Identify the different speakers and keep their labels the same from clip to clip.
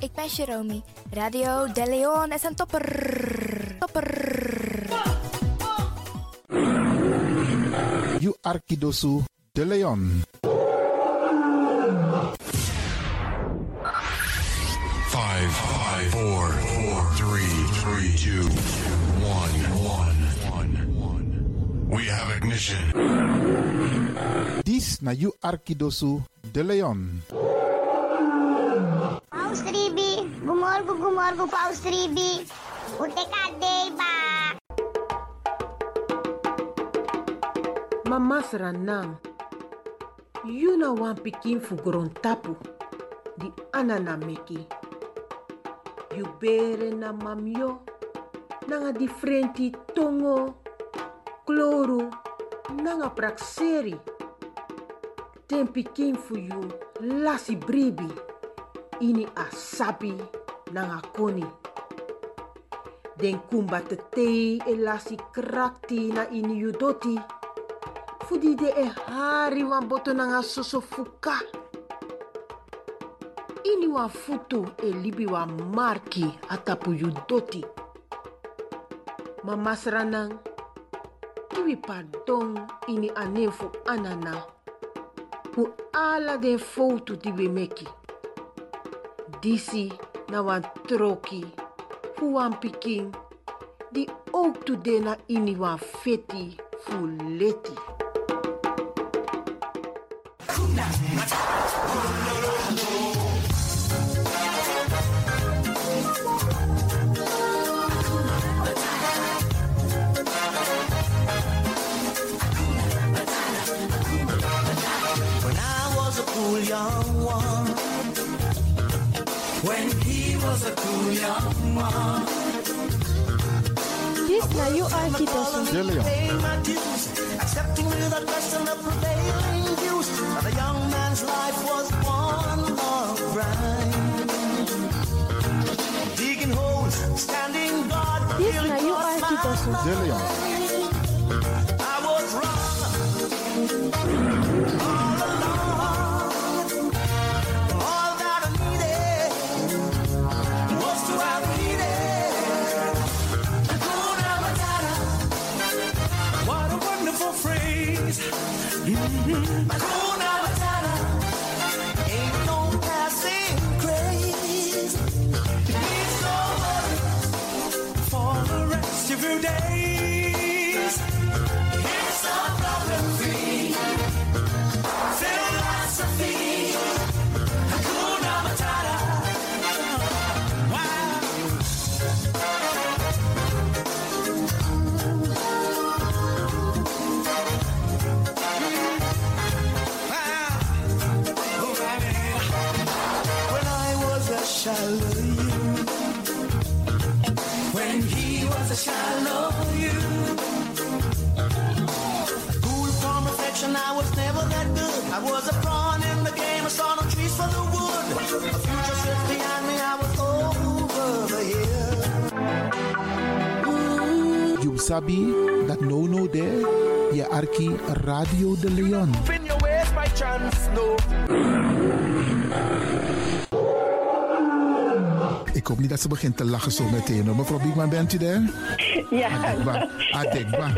Speaker 1: ik ben Jeromy. Radio De Leon is een topper. Topper.
Speaker 2: You Arkidosu de Leon.
Speaker 3: Five, five, four, four, three, three, two, one, one, one. We have ignition.
Speaker 2: This na You Arkidosu de Leon.
Speaker 4: Paus Ribi, gumorgo, gumorgo, Paus Ribi. Ute kadeba.
Speaker 5: Mama Saranam, you know one pikin for Gorontapu, the Anana Meki. You bere na mamio, nanga differenti tongo, kloro, nanga praxeri. Ten pikin for you, lasi bribi, ini asabi, nanga koni. Den kumba te tei e lasi krakti na ini yudoti. Fudi de e hari wan boto nanga soso fuka. Ini wan futu e libi wan marki atapu yu doti. Ma masra nang, iwi pardon ini anen fu anana. Pu ala den foutu di we meki. Disi na wan troki, fu wan pikin, di ook tu de na ini wan feti fu leti.
Speaker 6: When I was a cool young one. When he was a cool young one.
Speaker 7: This na you Arkidosu.
Speaker 2: De Leon.
Speaker 6: Pay my dues, accepting without question the prevailing views. But a young man's life was one long grind. Digging holes, standing guard,
Speaker 7: This
Speaker 6: feeling
Speaker 7: na you
Speaker 6: cross my
Speaker 7: Arkidosu.
Speaker 2: De Leon.
Speaker 6: I was wrong. All along, all that I needed was to have needed. Hakuna Matata. What a wonderful phrase. Mm-hmm. Hakuna Matata. Ain't no passing craze. It's so for the rest of your days. It's a problem free philosophy. Hakuna Matata. Wow. Wow. Oh, baby. When I was a Shallow you. When he was a shallow you. Cool from reflection, I was never that good. I was a pawn in the game, I saw no trees for the wood. A future sits behind me, I was over the hill.
Speaker 2: You sabi that no no there. Je Arki Radio de Leon.
Speaker 6: In your ways by chance, no.
Speaker 2: Ik hoop niet dat ze begint te lachen zo meteen. hoor. Mevrouw Biekman, bent u daar? Ah,
Speaker 8: Ja,
Speaker 2: Adekba. Adekba.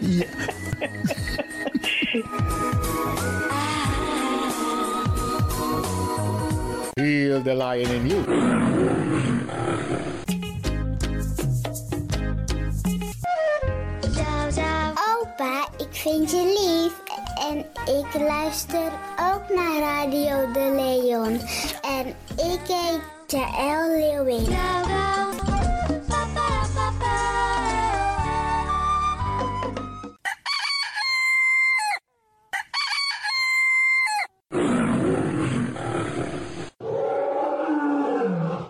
Speaker 2: ja.
Speaker 9: Feel the lion in you.
Speaker 4: Zou, zou. Opa, ik vind je lief. En ik luister ook naar Radio De Leon. En ik heet Jaël Leeuwin.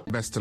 Speaker 2: Beste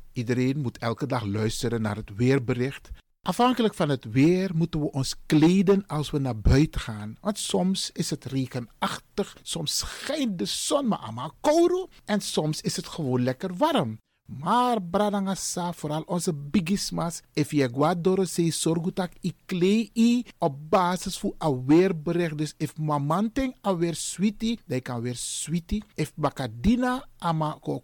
Speaker 8: iedereen moet elke dag luisteren naar het weerbericht. Afhankelijk van het weer moeten we ons kleden als we naar buiten gaan. Want soms is het regenachtig, soms schijnt de zon maar allemaal kouro en soms is het gewoon lekker warm. Maar bradangasa, vooral onze bigismas, if je guadoro se sorgutak i klei op basis voor a weerbericht. Dus if mamanting a weer sweetie, dan kan weer sweetie. If bakadina ama ko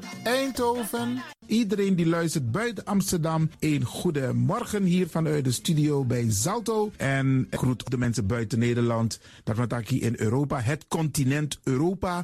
Speaker 2: Eindhoven. Iedereen die luistert buiten Amsterdam, een goede morgen hier vanuit de studio bij Zalto. En ik groet de mensen buiten Nederland, dat we het hier in Europa, het continent Europa.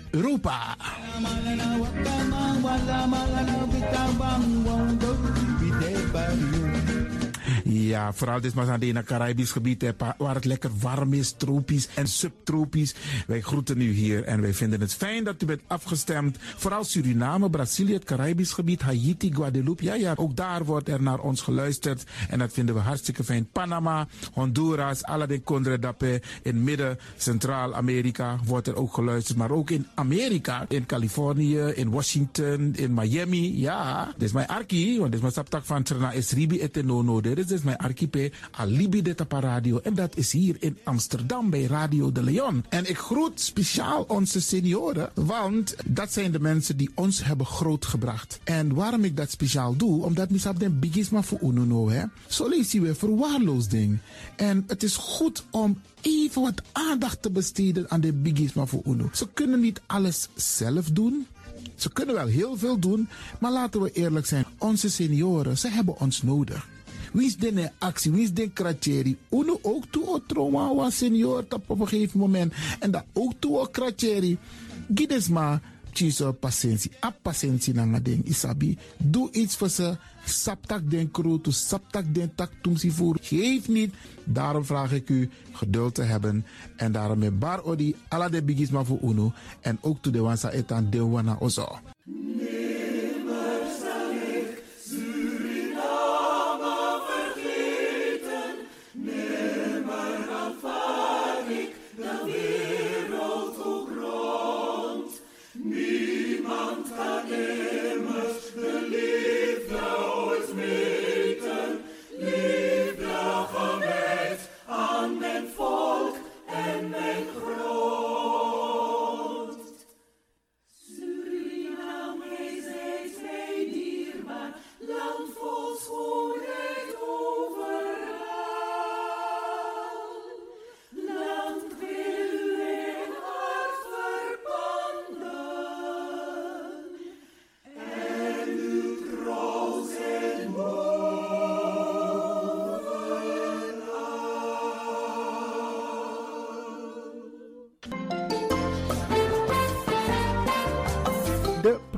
Speaker 2: Europa. Ja, vooral dit maar aan het Caribisch gebied, hè, pa- waar het lekker warm is, tropisch en subtropisch. Wij groeten u hier en wij vinden het fijn dat u bent afgestemd. Vooral Suriname, Brazilië, het Caribisch gebied, Haiti, Guadeloupe. Ja, ja, ook daar wordt er naar ons geluisterd en dat vinden we hartstikke fijn. Panama, Honduras, Aladdin Condre Dapé, in midden, Centraal-Amerika wordt er ook geluisterd. Maar ook in Amerika, in Californië, in Washington, in Miami. Ja, dit is mijn arki, want dit is mijn saptak van Trena Esribi et Nono. Dit is dus mijn archipel Alibi de Tapa Radio. En dat is hier in Amsterdam bij Radio de Leon. En ik groet speciaal onze senioren, want dat zijn de mensen die ons hebben grootgebracht. En waarom ik dat speciaal doe, omdat misap den bigisma voor uno hè. Zo lezen we verwaarloosding. En het is goed om even wat aandacht te besteden aan de bigisma voor uno. Ze kunnen niet alles zelf doen. Ze kunnen wel heel veel doen, maar laten we eerlijk zijn. Onze senioren, ze hebben ons nodig. Wins den actie, wins den kratjeri. Uno ook toe o trauma wa senior tap op een gegeven moment. En dat ook toe o kratjeri. Gides ma, tjiso patiëntie. A patiëntie na nga ding, isabi. Doe iets voor ze. Saptak den kroto, saptak den tak tumsi voor. Geef niet. Daarom vraag ik u geduld te hebben. En daarom met bar odi, ala de bigisma voor uno. En ook toe de wansa etan de wana ozo. De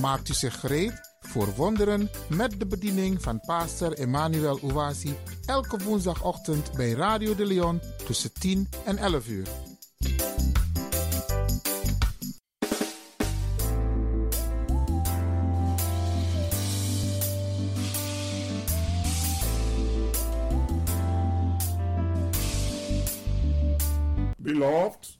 Speaker 2: Maakt u zich gereed voor wonderen met de bediening van pastor Emmanuel Owasi elke woensdagochtend bij Radio de Leon tussen 10 en 11 uur.
Speaker 10: Beloved,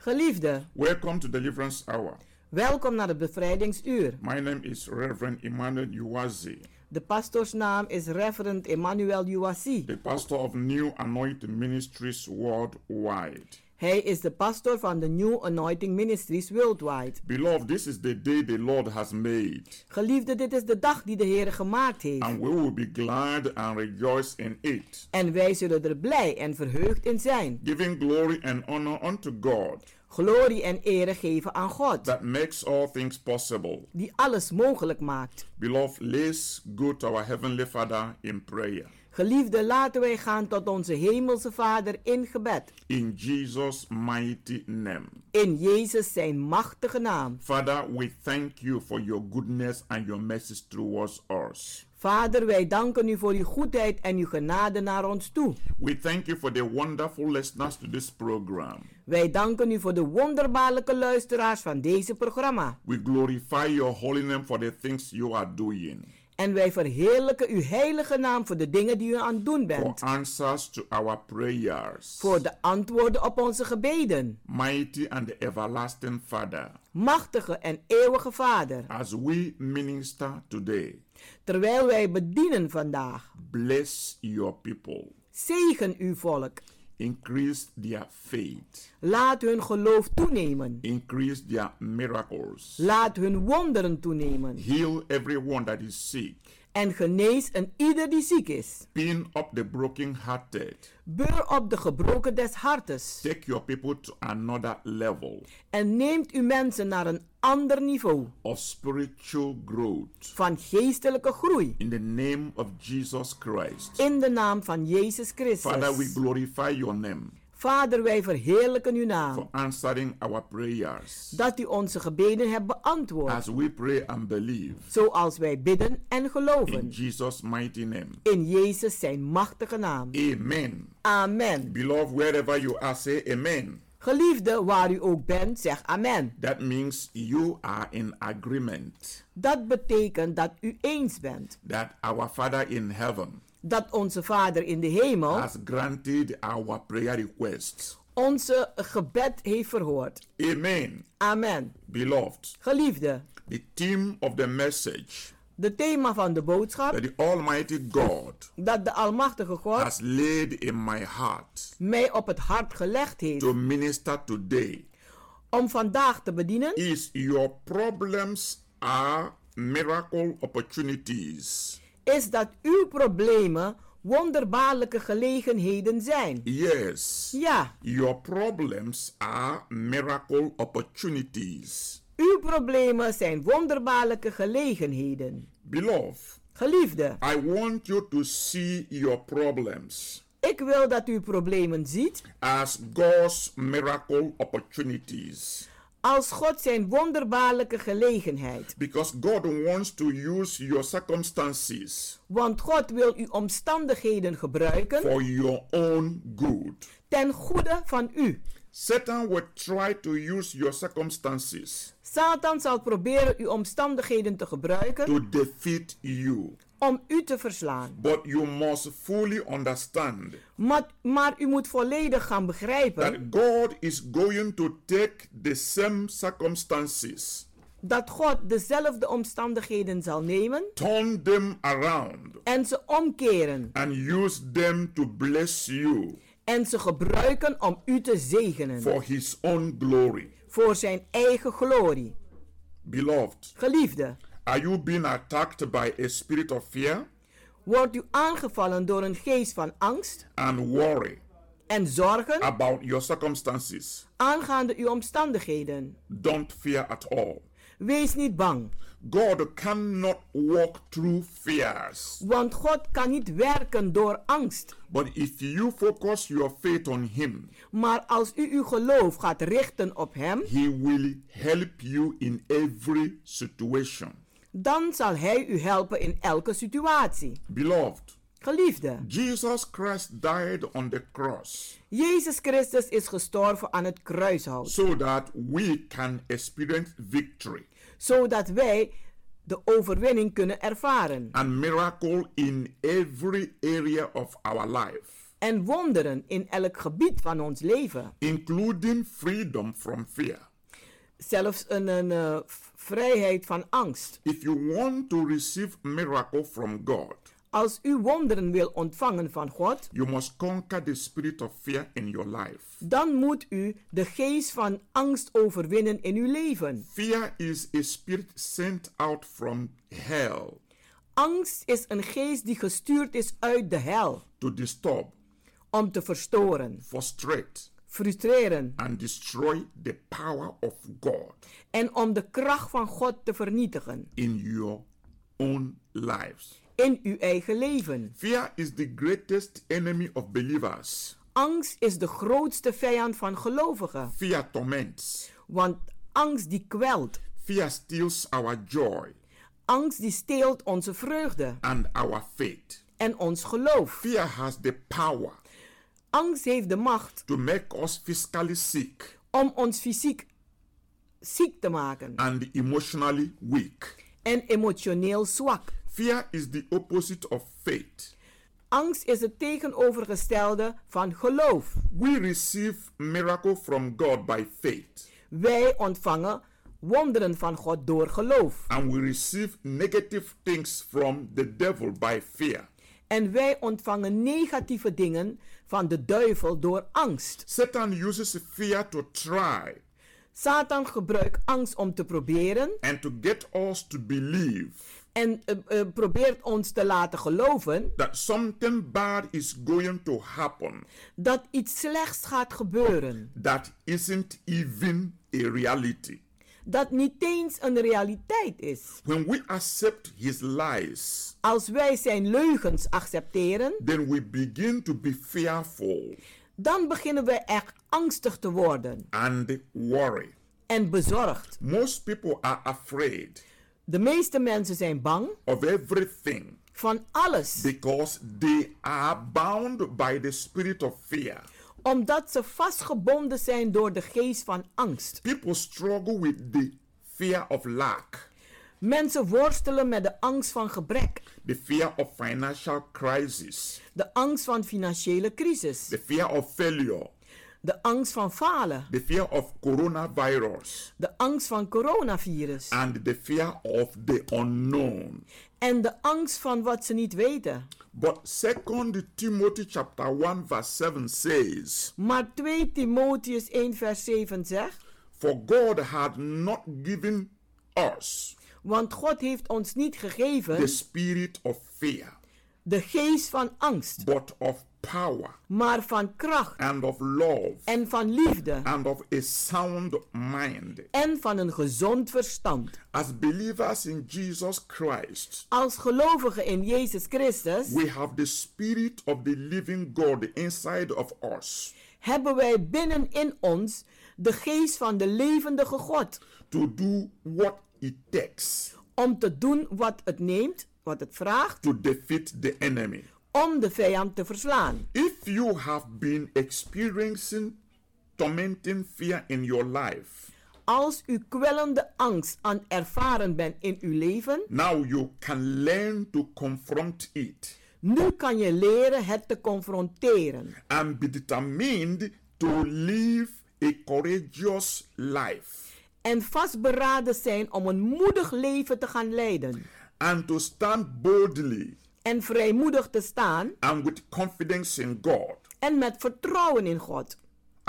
Speaker 11: Geliefde,
Speaker 10: welcome to Deliverance Hour.
Speaker 11: welkom naar het bevrijdingsuur.
Speaker 10: My name is Reverend Emmanuel Uwazi,
Speaker 11: De pastoorsnaam is Reverend Emmanuel Uwasi.
Speaker 10: the pastor of New Anointing Ministries worldwide.
Speaker 11: Hij is de pastor van de New Anointing Ministries Worldwide.
Speaker 10: Beloved, this is the day the Lord has made,
Speaker 11: Geliefde, dit is de dag die de Heer gemaakt heeft.
Speaker 10: and we will be glad and rejoice in it,
Speaker 11: En wij zullen er blij en verheugd in zijn.
Speaker 10: giving glory and honor unto God
Speaker 11: Glorie en ere geven aan God,
Speaker 10: that makes all things possible.
Speaker 11: die alles mogelijk maakt.
Speaker 10: Beloved, let's go to our Heavenly Father in prayer.
Speaker 11: Geliefde, laten wij gaan tot onze Hemelse Vader in gebed.
Speaker 10: In Jesus' mighty name.
Speaker 11: In Jezus zijn machtige naam.
Speaker 10: Father, we thank you for your goodness and your message towards us.
Speaker 11: Vader, wij danken u voor uw goedheid en uw genade naar ons toe.
Speaker 10: We thank you for the wonderful listeners to this program.
Speaker 11: Wij danken u voor de wonderbaarlijke luisteraars van deze programma.
Speaker 10: We glorify your holy name for the things you are doing,
Speaker 11: En wij verheerlijken uw heilige naam voor de dingen die u aan het doen
Speaker 10: for
Speaker 11: bent.
Speaker 10: answers to our prayers.
Speaker 11: Voor de antwoorden op onze gebeden.
Speaker 10: Mighty and everlasting Father,
Speaker 11: Machtige en eeuwige Vader.
Speaker 10: as we minister today,
Speaker 11: Terwijl wij bedienen vandaag.
Speaker 10: bless your people,
Speaker 11: Zegen uw volk.
Speaker 10: increase their faith,
Speaker 11: Laat hun geloof toenemen.
Speaker 10: increase their miracles,
Speaker 11: Laat hun wonderen toenemen.
Speaker 10: heal everyone that is sick,
Speaker 11: En genees een ieder die ziek is.
Speaker 10: pin up the brokenhearted,
Speaker 11: Beur op de gebroken des hartes.
Speaker 10: take your people to another level
Speaker 11: En neemt uw mensen naar een ander niveau.
Speaker 10: of spiritual growth.
Speaker 11: Van geestelijke groei.
Speaker 10: In the name of Jesus Christ.
Speaker 11: In de naam van Jezus Christus.
Speaker 10: Father, we glorify your name
Speaker 11: Vader, wij verheerlijken uw
Speaker 10: for
Speaker 11: naam.
Speaker 10: answering our prayers
Speaker 11: Dat u onze gebeden hebt beantwoord.
Speaker 10: as we pray and believe.
Speaker 11: Zoals wij bidden en
Speaker 10: In
Speaker 11: geloven.
Speaker 10: Jesus' mighty name.
Speaker 11: In Jezus zijn machtige naam.
Speaker 10: Amen.
Speaker 11: Amen.
Speaker 10: Beloved, wherever you are, say amen.
Speaker 11: Geliefde, waar u ook bent, zeg amen.
Speaker 10: That means you are in agreement
Speaker 11: Dat betekent dat u eens bent.
Speaker 10: that our Father in heaven
Speaker 11: Dat onze Vader in de hemel
Speaker 10: has granted our prayer requests.
Speaker 11: onze gebed heeft verhoord.
Speaker 10: Amen.
Speaker 11: Amen.
Speaker 10: Beloved,
Speaker 11: Geliefde,
Speaker 10: the theme of the message
Speaker 11: de thema van de boodschap
Speaker 10: that the Almighty God
Speaker 11: dat de Almachtige God
Speaker 10: has laid in my heart
Speaker 11: mij op het hart gelegd heeft
Speaker 10: to minister today
Speaker 11: om vandaag te bedienen
Speaker 10: is your problems are miracle opportunities.
Speaker 11: is dat uw problemen wonderbaarlijke gelegenheden zijn.
Speaker 10: Yes.
Speaker 11: Ja,
Speaker 10: Your problems are miracle opportunities.
Speaker 11: uw problemen zijn wonderbaarlijke gelegenheden.
Speaker 10: Beloved,
Speaker 11: Geliefde,
Speaker 10: I want you to see your problems
Speaker 11: ik wil dat u problemen ziet
Speaker 10: as God's miracle opportunities
Speaker 11: als God zijn wonderbaarlijke gelegenheid.
Speaker 10: because God wants to use your circumstances
Speaker 11: Want God wil uw omstandigheden gebruiken
Speaker 10: for your own good.
Speaker 11: ten goede van u.
Speaker 10: Satan will try to use your circumstances
Speaker 11: Satan zal proberen uw omstandigheden te gebruiken
Speaker 10: to defeat you.
Speaker 11: om u te verslaan.
Speaker 10: But you must fully understand
Speaker 11: Maar, maar u moet volledig gaan begrijpen
Speaker 10: that God is going to take the same circumstances,
Speaker 11: dat God dezelfde omstandigheden zal nemen
Speaker 10: turn them around,
Speaker 11: en ze omkeren
Speaker 10: and use them to bless you
Speaker 11: en ze gebruiken om u te zegenen
Speaker 10: for His own glory.
Speaker 11: voor zijn eigen glorie.
Speaker 10: Beloved,
Speaker 11: Geliefde,
Speaker 10: are you being attacked by a spirit of fear
Speaker 11: wordt u aangevallen door een geest van angst
Speaker 10: and worry
Speaker 11: en zorgen
Speaker 10: about your circumstances?
Speaker 11: aangaande uw omstandigheden?
Speaker 10: Don't fear at all.
Speaker 11: Wees niet bang,
Speaker 10: God cannot walk through fears.
Speaker 11: want God kan niet werken door angst.
Speaker 10: But if you focus your faith on Him,
Speaker 11: Maar als u uw geloof gaat richten op Hem,
Speaker 10: He will help you in every situation.
Speaker 11: dan zal Hij u helpen in elke situatie.
Speaker 10: Beloved,
Speaker 11: Geliefde,
Speaker 10: Jesus Christ died on the cross
Speaker 11: Jezus Christus is gestorven aan het kruishout,
Speaker 10: so that we can experience victory
Speaker 11: zodat wij de overwinning kunnen ervaren
Speaker 10: and miracle in every area of our life,
Speaker 11: en wonderen in elk gebied van ons leven.
Speaker 10: including freedom from fear.
Speaker 11: Zelfs een, een eh, v- vrijheid van angst.
Speaker 10: If you want to receive miracle from God,
Speaker 11: Als u wonderen wil ontvangen van God,
Speaker 10: you must conquer the spirit of fear in your life.
Speaker 11: dan moet u de geest van angst overwinnen in uw leven.
Speaker 10: Fear is a spirit sent out from hell
Speaker 11: Angst is een geest die gestuurd is uit de hel
Speaker 10: to disturb,
Speaker 11: om te verstoren,
Speaker 10: frustrate,
Speaker 11: frustreren
Speaker 10: and destroy the power of God
Speaker 11: en om de kracht van God te vernietigen
Speaker 10: in your own lives.
Speaker 11: in uw eigen leven.
Speaker 10: Fear is the greatest enemy of believers.
Speaker 11: Angst is de grootste vijand van gelovigen,
Speaker 10: Fear torments.
Speaker 11: want angst die kwelt,
Speaker 10: Fear steals our joy
Speaker 11: angst die steelt onze vreugde
Speaker 10: and our faith.
Speaker 11: en ons geloof.
Speaker 10: Fear has the power
Speaker 11: Angst heeft de macht
Speaker 10: to make us physically sick
Speaker 11: om ons fysiek ziek te maken
Speaker 10: and emotionally weak.
Speaker 11: en emotioneel zwak.
Speaker 10: Fear is the opposite of faith.
Speaker 11: Angst is het tegenovergestelde van geloof.
Speaker 10: We receive miracle from God by faith
Speaker 11: Wij ontvangen wonderen van God door geloof.
Speaker 10: and we receive negative things from the devil by fear.
Speaker 11: En wij ontvangen negatieve dingen van de duivel door angst.
Speaker 10: Satan uses fear to try
Speaker 11: Satan gebruikt angst om te proberen
Speaker 10: and to get us to believe
Speaker 11: en eh, eh, probeert ons te laten geloven
Speaker 10: that something bad is going to happen
Speaker 11: dat iets slechts gaat gebeuren.
Speaker 10: that isn't even a reality.
Speaker 11: Dat niet eens een realiteit is.
Speaker 10: When we accept his lies,
Speaker 11: Als wij zijn leugens accepteren,
Speaker 10: then we begin to be fearful
Speaker 11: dan beginnen we echt angstig te worden
Speaker 10: and worry.
Speaker 11: en bezorgd.
Speaker 10: Most people are afraid
Speaker 11: De meeste mensen zijn bang
Speaker 10: of everything
Speaker 11: van alles.
Speaker 10: because they are bound by the spirit of fear.
Speaker 11: omdat ze vastgebonden zijn door de geest van angst.
Speaker 10: People struggle with the fear of lack,
Speaker 11: Mensen worstelen met de angst van gebrek,
Speaker 10: the fear of financial crisis,
Speaker 11: de angst van financiële crisis,
Speaker 10: the fear of failure,
Speaker 11: de angst van falen,
Speaker 10: the fear of coronavirus,
Speaker 11: de angst van coronavirus
Speaker 10: and the fear of the unknown.
Speaker 11: en de angst van wat ze niet weten.
Speaker 10: But 2 Timothy chapter 1 verse 7 says,
Speaker 11: Maar 2 Timotheus 1 vers 7 zegt,
Speaker 10: For God had not given us
Speaker 11: want God heeft ons niet
Speaker 10: the
Speaker 11: gegeven
Speaker 10: Dus- spirit of fear,
Speaker 11: de geest van angst,
Speaker 10: but of power
Speaker 11: maar van kracht
Speaker 10: and of love
Speaker 11: en van liefde
Speaker 10: and of a sound mind.
Speaker 11: en van een gezond verstand.
Speaker 10: As believers in Jesus Christ,
Speaker 11: Als gelovigen in Jezus Christus
Speaker 10: we have the spirit of the living God inside of us
Speaker 11: hebben wij binnenin ons de geest van de levendige God
Speaker 10: to do what it takes
Speaker 11: om te doen wat het neemt, wat het vraagt,
Speaker 10: to defeat the enemy.
Speaker 11: om de vijand te verslaan.
Speaker 10: If you have been experiencing tormenting fear in your life,
Speaker 11: Als u kwellende angst aan ervaren bent in uw leven,
Speaker 10: now you can learn to confront it
Speaker 11: nu kan je leren het te confronteren
Speaker 10: and be determined to live a courageous life
Speaker 11: en vastberaden zijn om een moedig leven te gaan leiden
Speaker 10: and to stand boldly
Speaker 11: en vrijmoedig te staan
Speaker 10: and with confidence in God.
Speaker 11: en met vertrouwen in God.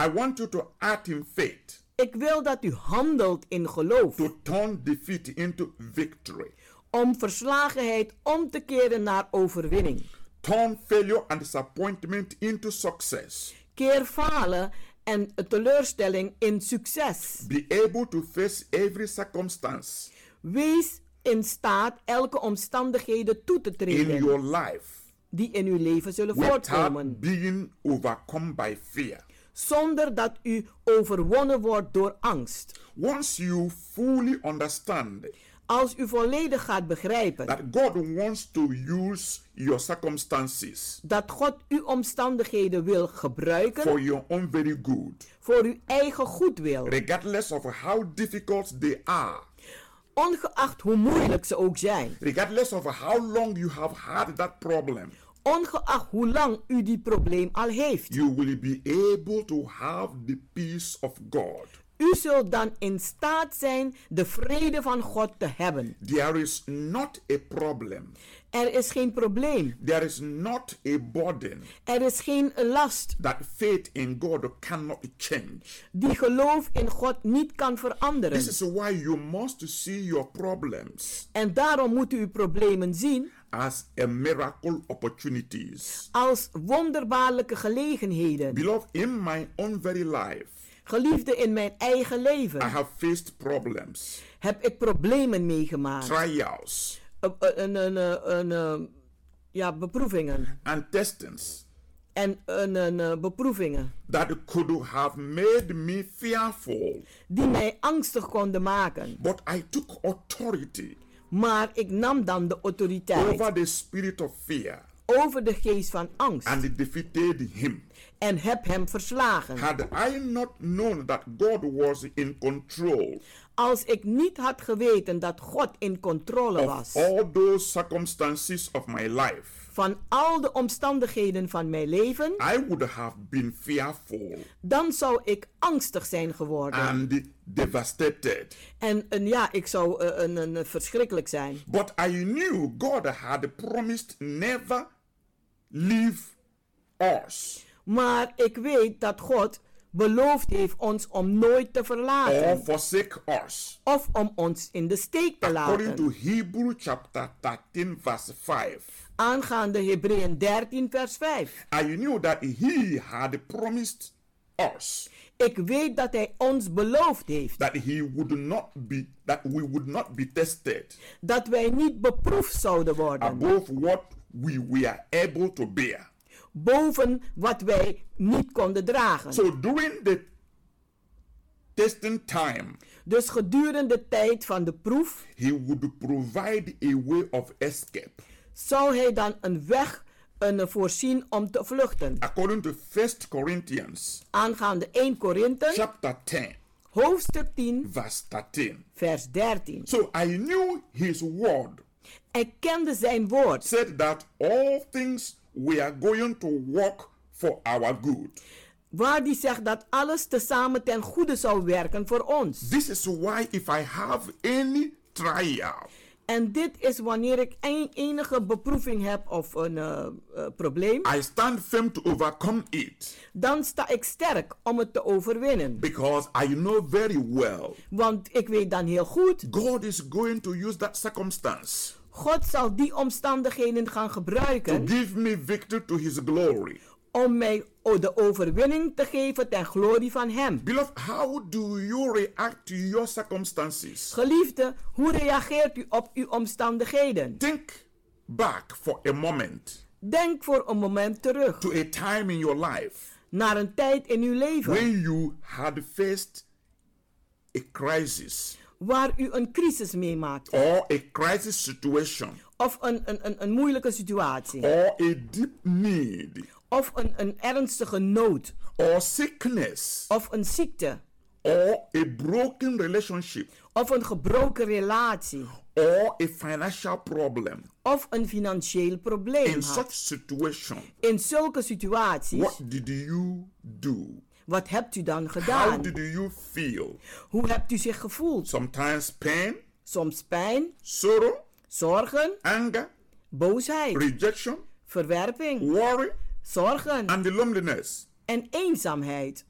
Speaker 10: I want you to act in faith
Speaker 11: Ik wil dat u handelt in geloof.
Speaker 10: To turn defeat into victory.
Speaker 11: Om verslagenheid om te keren naar overwinning.
Speaker 10: Turn failure and disappointment into success.
Speaker 11: Keer falen en teleurstelling in succes.
Speaker 10: Be able to face every circumstance
Speaker 11: Wees in staat elke omstandigheden toe te treden.
Speaker 10: in your life
Speaker 11: die in uw leven zullen voortkomen.
Speaker 10: without being overcome by fear.
Speaker 11: Zonder dat u overwonnen wordt door angst.
Speaker 10: Once you fully understand
Speaker 11: Als u volledig gaat begrijpen
Speaker 10: that God wants to use your circumstances
Speaker 11: dat God uw omstandigheden wil
Speaker 10: for
Speaker 11: gebruiken
Speaker 10: your own very good,
Speaker 11: voor uw eigen goedwil.
Speaker 10: regardless of how difficult they are,
Speaker 11: Ongeacht hoe moeilijk ze ook zijn.
Speaker 10: regardless of how long you have had that problem,
Speaker 11: Ongeacht hoe lang u die probleem al heeft.
Speaker 10: you will be able to have the peace of God.
Speaker 11: U zult dan in staat zijn de vrede van God te hebben.
Speaker 10: There is not a problem,
Speaker 11: Er is geen probleem.
Speaker 10: there is not a burden
Speaker 11: Er is geen last
Speaker 10: that faith in God cannot change.
Speaker 11: die geloof in God niet kan veranderen.
Speaker 10: This is why you must see your problems
Speaker 11: En daarom moet u uw problemen zien
Speaker 10: as a miracle opportunities.
Speaker 11: als wonderbaarlijke gelegenheden.
Speaker 10: Beloved, in my own very life,
Speaker 11: Geliefde in mijn eigen
Speaker 10: I
Speaker 11: leven
Speaker 10: have faced problems,
Speaker 11: heb ik problemen meegemaakt.
Speaker 10: trials,
Speaker 11: Eh, eh, een, een, eh, een, eh, ja, beproevingen.
Speaker 10: and testings
Speaker 11: En een, een, eh, beproevingen
Speaker 10: that could have made me fearful.
Speaker 11: die mij angstig konden maken.
Speaker 10: But I took authority
Speaker 11: Maar ik nam dan de
Speaker 10: over
Speaker 11: autoriteit
Speaker 10: the spirit of fear
Speaker 11: over de geest van angst
Speaker 10: and defeated him.
Speaker 11: en heb hem verslagen.
Speaker 10: Had I not known that God was in control
Speaker 11: Als ik niet had geweten dat God in controle
Speaker 10: of
Speaker 11: was
Speaker 10: all those circumstances of my life,
Speaker 11: van al de omstandigheden van mijn leven,
Speaker 10: I would have been fearful
Speaker 11: dan zou ik angstig zijn geworden.
Speaker 10: and devastated.
Speaker 11: En, en ja, ik zou eh, een, een, een verschrikkelijk zijn.
Speaker 10: But I knew God had promised never leave us
Speaker 11: Maar ik weet dat God beloofd heeft ons om nooit te
Speaker 10: or
Speaker 11: verlaten
Speaker 10: forsake us.
Speaker 11: of om ons in de steek te
Speaker 10: According to
Speaker 11: laten.
Speaker 10: Hebrew chapter 13, verse 5,
Speaker 11: Aangaande Hebreeën 13, vers 5.
Speaker 10: I knew that He had promised us
Speaker 11: Ik weet dat Hij ons beloofd heeft
Speaker 10: that He would not be that we would not be tested
Speaker 11: dat wij niet beproefd zouden worden
Speaker 10: above what we were able to bear.
Speaker 11: boven wat wij niet konden dragen.
Speaker 10: So during the testing time,
Speaker 11: Dus gedurende de tijd van de proef
Speaker 10: He would provide a way of escape.
Speaker 11: zou Hij dan een weg een voorzien om te vluchten.
Speaker 10: According to 1 Corinthians
Speaker 11: Aangaande 1 Korinthe,
Speaker 10: chapter 10,
Speaker 11: hoofdstuk 10,
Speaker 10: verse 13.
Speaker 11: vers 13.
Speaker 10: So I knew his word
Speaker 11: Hij kende zijn woord.
Speaker 10: said that all things were going to work for our good.
Speaker 11: Waar die zegt dat alles tezamen ten goede zou werken voor ons.
Speaker 10: This is why if I have any trial,
Speaker 11: En dit is wanneer ik een, enige beproeving heb of een eh, eh, probleem.
Speaker 10: I stand firm to overcome it
Speaker 11: Dan sta ik sterk om het te overwinnen.
Speaker 10: because I know very well
Speaker 11: Want ik weet dan heel goed,
Speaker 10: God is going to use that circumstance
Speaker 11: God zal die omstandigheden gaan
Speaker 10: to
Speaker 11: gebruiken
Speaker 10: give me victory to his glory.
Speaker 11: om mij o- de overwinning te geven ten glorie van Hem.
Speaker 10: Beloved, how do you react to your circumstances?
Speaker 11: Geliefde, hoe reageert u op uw omstandigheden?
Speaker 10: Think back for a moment
Speaker 11: Denk voor een moment terug
Speaker 10: to a time in your life
Speaker 11: naar een tijd in uw leven
Speaker 10: when you had faced a crisis
Speaker 11: waar u een crisis meemaakt.
Speaker 10: or a crisis situation
Speaker 11: Of een, een, een, een moeilijke situatie.
Speaker 10: or a deep need
Speaker 11: Of een, een ernstige nood.
Speaker 10: or sickness
Speaker 11: Of een ziekte.
Speaker 10: or a broken relationship
Speaker 11: Of een gebroken relatie.
Speaker 10: or a financial problem.
Speaker 11: Of een financieel probleem.
Speaker 10: In
Speaker 11: had.
Speaker 10: such situation,
Speaker 11: In zulke situaties,
Speaker 10: what did you do?
Speaker 11: wat hebt u dan
Speaker 10: How
Speaker 11: gedaan?
Speaker 10: did you feel?
Speaker 11: Hoe hebt u zich gevoeld?
Speaker 10: Sometimes pain,
Speaker 11: Soms pijn,
Speaker 10: sorrow,
Speaker 11: zorgen,
Speaker 10: anger,
Speaker 11: boosheid,
Speaker 10: rejection,
Speaker 11: verwerping,
Speaker 10: worry,
Speaker 11: zorgen
Speaker 10: and loneliness.
Speaker 11: en eenzaamheid.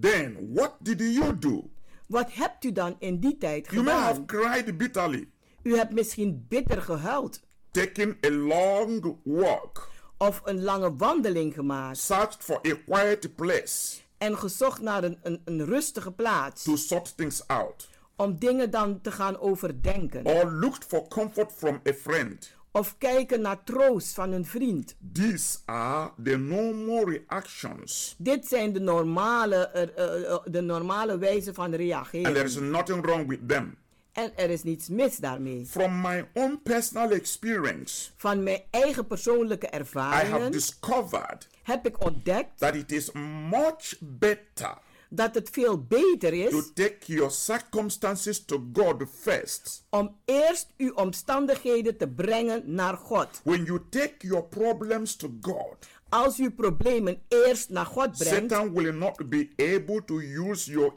Speaker 10: Then what did you do?
Speaker 11: Wat hebt u dan in die tijd
Speaker 10: You may have
Speaker 11: gedaan?
Speaker 10: cried bitterly,
Speaker 11: U hebt misschien bitter gehuild
Speaker 10: taken a long walk,
Speaker 11: of een lange wandeling gemaakt
Speaker 10: searched for a quiet place
Speaker 11: en gezocht naar een, een, een rustige plaats
Speaker 10: to sort things out,
Speaker 11: om dingen dan te gaan overdenken.
Speaker 10: or looked for comfort from a friend.
Speaker 11: Of kijken naar troost van een vriend.
Speaker 10: These are the normal reactions,
Speaker 11: Dit zijn de normale, er- eh, eh, de normale wijze van
Speaker 10: and there is
Speaker 11: reageren.
Speaker 10: nothing wrong with them.
Speaker 11: En er is niets mis daarmee.
Speaker 10: From my own personal experience,
Speaker 11: Van mijn eigen persoonlijke
Speaker 10: I have dus-
Speaker 11: ervaringen
Speaker 10: discovered
Speaker 11: heb ik ontdekt
Speaker 10: that it is much better
Speaker 11: dat het veel beter
Speaker 10: to
Speaker 11: is
Speaker 10: take your circumstances to God first.
Speaker 11: om eerst uw omstandigheden te brengen naar God.
Speaker 10: When you take your problems to God,
Speaker 11: Als u problemen eerst naar God brengt,
Speaker 10: Satan will not be able to use your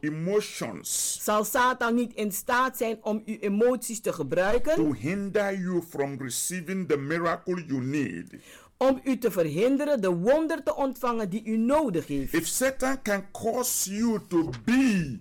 Speaker 10: emotions
Speaker 11: zal Satan niet in staat zijn om uw emoties te
Speaker 10: to
Speaker 11: gebruiken
Speaker 10: hinder you from receiving the miracle you need.
Speaker 11: om u te verhinderen de wonder te ontvangen die u nodig heeft.
Speaker 10: If Satan can cause you to be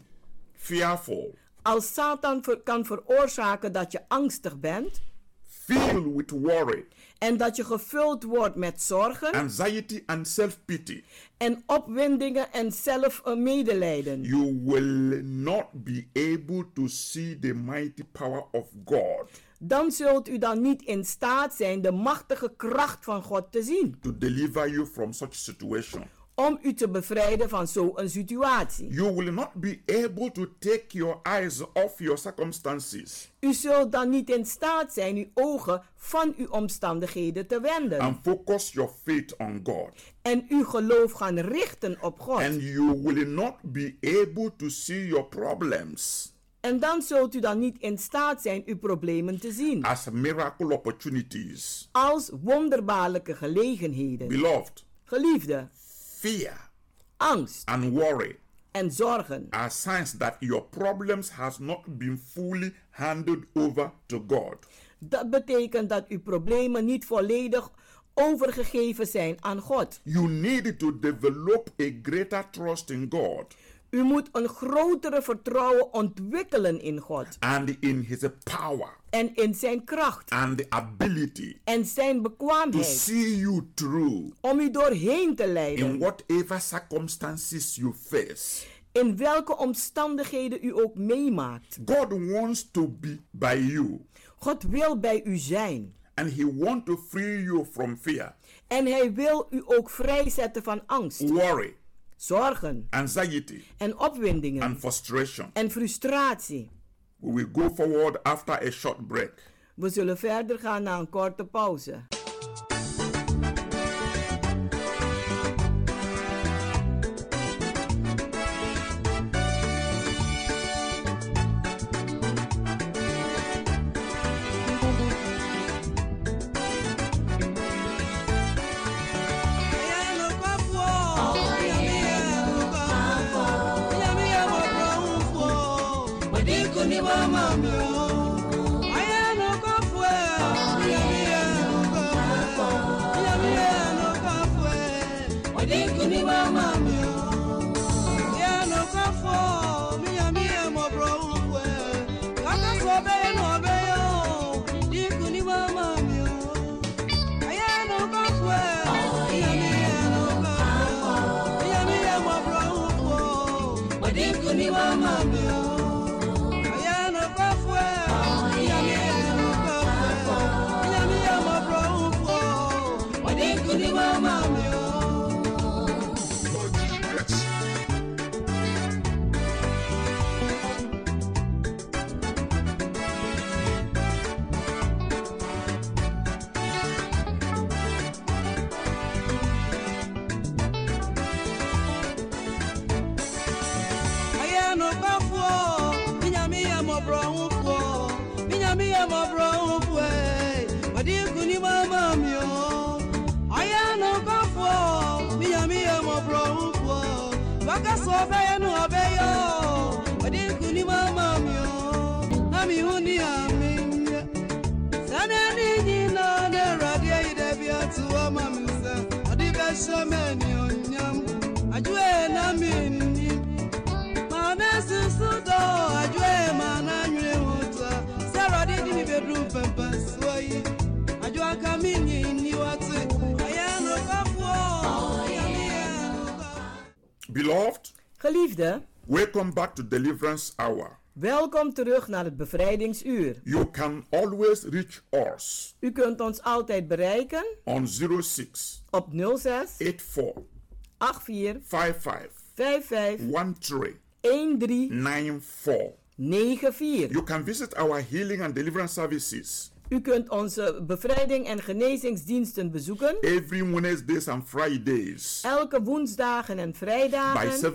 Speaker 10: fearful,
Speaker 11: Als Satan ver- kan veroorzaken dat je angstig bent
Speaker 10: filled with worry,
Speaker 11: en dat je gevuld wordt met zorgen
Speaker 10: anxiety, and self pity,
Speaker 11: en opwindingen en zelf eh, medelijden,
Speaker 10: you will not be able to see the mighty power of God
Speaker 11: dan zult u dan niet in staat zijn de machtige kracht van God te zien
Speaker 10: to deliver you from such situation.
Speaker 11: om u te bevrijden van zo'n situatie.
Speaker 10: You will not be able to take your eyes off your circumstances
Speaker 11: U zult dan niet in staat zijn uw ogen van uw omstandigheden te wenden.
Speaker 10: and focus your faith on God.
Speaker 11: en uw geloof gaan richten op God.
Speaker 10: And you will not be able to see your problems
Speaker 11: En dan zult u dan niet in staat zijn uw problemen te zien
Speaker 10: as miracle opportunities.
Speaker 11: als wonderbaarlijke gelegenheden.
Speaker 10: Beloved,
Speaker 11: Geliefde,
Speaker 10: fear
Speaker 11: angst
Speaker 10: and worry
Speaker 11: en zorgen
Speaker 10: are signs that your problems has not been fully handed over to God.
Speaker 11: dat betekent dat uw problemen niet volledig overgegeven zijn aan God.
Speaker 10: You need to develop a greater trust in God
Speaker 11: U moet een grotere vertrouwen ontwikkelen in God
Speaker 10: and in His power
Speaker 11: en in zijn kracht
Speaker 10: and the ability
Speaker 11: en
Speaker 10: to
Speaker 11: zijn bekwaamheid
Speaker 10: see you through
Speaker 11: om u doorheen te
Speaker 10: in
Speaker 11: leiden
Speaker 10: whatever circumstances you face.
Speaker 11: in welke omstandigheden u ook meemaakt.
Speaker 10: God wants to be by you
Speaker 11: God wil bij u zijn.
Speaker 10: and He wants to free you from fear,
Speaker 11: En hij wil u ook vrijzetten van angst,
Speaker 10: worry,
Speaker 11: zorgen
Speaker 10: anxiety,
Speaker 11: en opwindingen
Speaker 10: and frustration.
Speaker 11: en frustratie.
Speaker 10: We will go forward after a short break.
Speaker 11: We zullen verder gaan na een korte pauze.
Speaker 10: Beloved,
Speaker 11: Geliefde,
Speaker 10: welcome back to Deliverance Hour.
Speaker 11: welkom terug naar het bevrijdingsuur.
Speaker 10: You can always reach us
Speaker 11: U kunt ons altijd bereiken
Speaker 10: on 06
Speaker 11: op 06
Speaker 10: 84
Speaker 11: 84
Speaker 10: 55
Speaker 11: 55
Speaker 10: 13
Speaker 11: 13
Speaker 10: 94.
Speaker 11: 94.
Speaker 10: You can visit our healing and deliverance services
Speaker 11: U kunt onze bevrijding en genezingsdiensten bezoeken
Speaker 10: every Wednesdays and Fridays
Speaker 11: elke woensdagen en
Speaker 10: by
Speaker 11: vrijdagen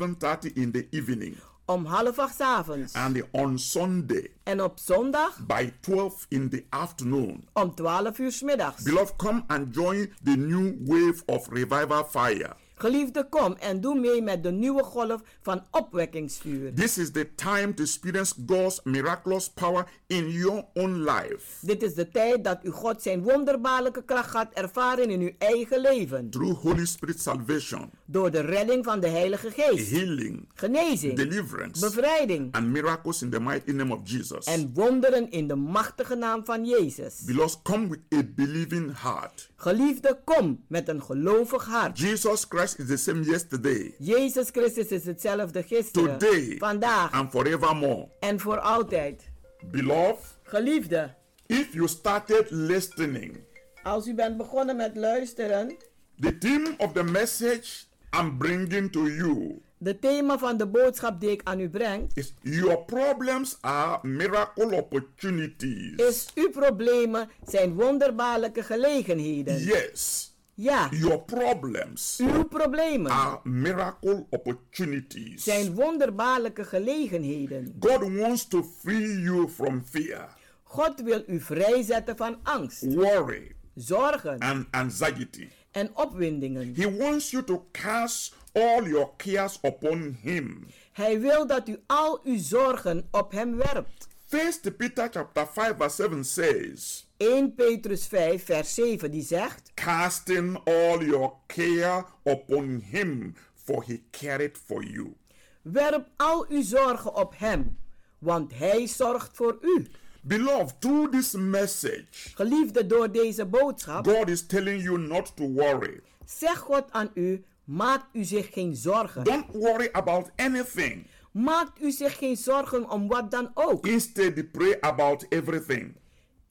Speaker 10: 7:30 in the evening
Speaker 11: om half acht 's avonds
Speaker 10: and on Sunday
Speaker 11: en op zondag
Speaker 10: by 12 in the afternoon.
Speaker 11: om 12 uur 's middags.
Speaker 10: Beloved, come and join the new wave of revival fire.
Speaker 11: Geliefde, kom en doe mee met de nieuwe golf van opwekkingsvuur.
Speaker 10: This is the time to experience God's miraculous power in your own life
Speaker 11: Dit is de tijd dat u God zijn wonderbaarlijke kracht gaat ervaren in uw eigen leven.
Speaker 10: through Holy Spirit salvation,
Speaker 11: Door de redding van de Heilige Geest.
Speaker 10: healing,
Speaker 11: Genezing,
Speaker 10: deliverance,
Speaker 11: bevrijding
Speaker 10: and miracles in the mighty name of Jesus.
Speaker 11: en wonderen in de machtige naam van Jezus.
Speaker 10: Beloved, come with a believing heart.
Speaker 11: Geliefde, kom met een gelovig hart.
Speaker 10: Jesus Christ is the same yesterday,
Speaker 11: Jezus Christus is hetzelfde gisteren,
Speaker 10: Today.
Speaker 11: vandaag
Speaker 10: and forevermore.
Speaker 11: en voor altijd.
Speaker 10: Beloved,
Speaker 11: Geliefde,
Speaker 10: if you started listening,
Speaker 11: als u bent begonnen met luisteren,
Speaker 10: the theme of the message I'm bringing to you
Speaker 11: de thema van de boodschap die ik aan u breng,
Speaker 10: is Your problems are miracle opportunities.
Speaker 11: is uw problemen zijn wonderbaarlijke gelegenheden.
Speaker 10: Yes,
Speaker 11: Ja,
Speaker 10: your problems
Speaker 11: uw problemen
Speaker 10: are miracle opportunities.
Speaker 11: zijn wonderbaarlijke gelegenheden.
Speaker 10: God wants to free you from fear,
Speaker 11: God wil u vrijzetten van angst,
Speaker 10: worry,
Speaker 11: zorgen
Speaker 10: and anxiety.
Speaker 11: en opwindingen.
Speaker 10: He wants you to cast all your cares upon Him.
Speaker 11: Hij wil dat u al uw zorgen op hem werpt.
Speaker 10: First Peter chapter 5 verse 7 says,
Speaker 11: 1 Petrus 5, vers 7, die zegt:
Speaker 10: Casting all your care upon him, for he careth for you.
Speaker 11: Werp al uw zorgen op hem, want hij zorgt voor u.
Speaker 10: Beloved, through this message,
Speaker 11: Geliefde door deze boodschap,
Speaker 10: God is telling you not to worry.
Speaker 11: zeg God aan u: maakt u zich geen zorgen.
Speaker 10: Don't worry about anything.
Speaker 11: Maakt u zich geen zorgen om wat dan ook.
Speaker 10: Instead, pray about everything.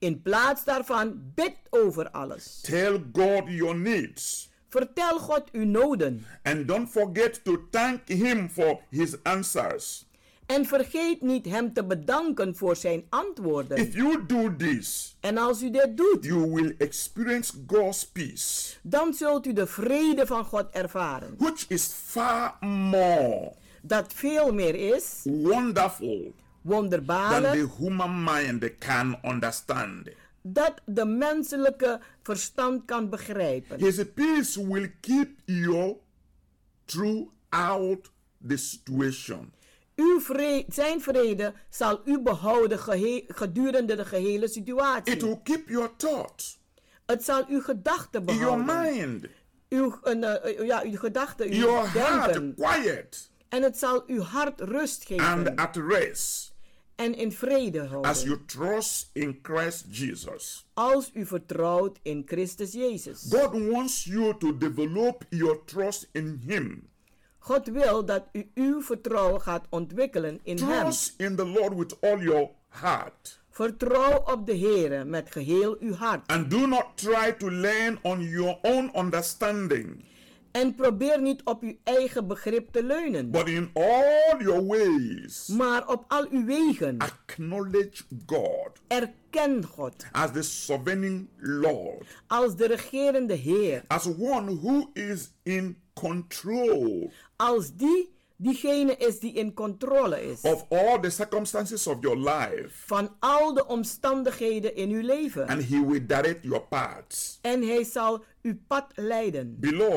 Speaker 11: In plaats daarvan, bid over alles.
Speaker 10: Tell God your needs.
Speaker 11: Vertel God uw noden.
Speaker 10: And don't forget to thank him for his answers.
Speaker 11: En vergeet niet hem te bedanken voor zijn antwoorden.
Speaker 10: If you do this,
Speaker 11: En als u dit doet,
Speaker 10: you will experience God's peace,
Speaker 11: dan zult u de vrede van God ervaren.
Speaker 10: which is far more
Speaker 11: Dat veel meer is,
Speaker 10: wonderful than
Speaker 11: wonderbaarlijk,
Speaker 10: the human mind can understand.
Speaker 11: dat de menselijke verstand kan begrijpen.
Speaker 10: His peace will keep you throughout the situation.
Speaker 11: Uw vre- zijn vrede zal u behouden gehe- gedurende de gehele
Speaker 10: It
Speaker 11: situatie.
Speaker 10: will keep your thoughts,
Speaker 11: Het zal uw gedachten
Speaker 10: your
Speaker 11: behouden.
Speaker 10: mind,
Speaker 11: Uw, een, eh, ja, uw gedachten, uw
Speaker 10: your heart
Speaker 11: denken.
Speaker 10: quiet
Speaker 11: En het zal uw hart rust geven
Speaker 10: and at rest
Speaker 11: en in vrede
Speaker 10: as
Speaker 11: houden.
Speaker 10: you trust in Christ Jesus.
Speaker 11: Als u vertrouwt in Christus Jezus.
Speaker 10: God wants you to develop your trust in Him.
Speaker 11: God wil dat u uw vertrouwen gaat ontwikkelen in Hem.
Speaker 10: Trust in the Lord with all your heart.
Speaker 11: Vertrouw op de Heer met geheel uw hart.
Speaker 10: And do not try to lean on your own understanding,
Speaker 11: En probeer niet op uw eigen begrip te leunen,
Speaker 10: but in all your ways,
Speaker 11: maar op al uw wegen.
Speaker 10: acknowledge God
Speaker 11: Erken God
Speaker 10: as the sovereign Lord,
Speaker 11: als de regerende Heer,
Speaker 10: as one who is in control
Speaker 11: als die diegene is die in controle is
Speaker 10: of all the circumstances of your life,
Speaker 11: van al de omstandigheden in uw leven.
Speaker 10: and He will direct your paths.
Speaker 11: En Hij zal uw pad leiden.
Speaker 10: Beloved,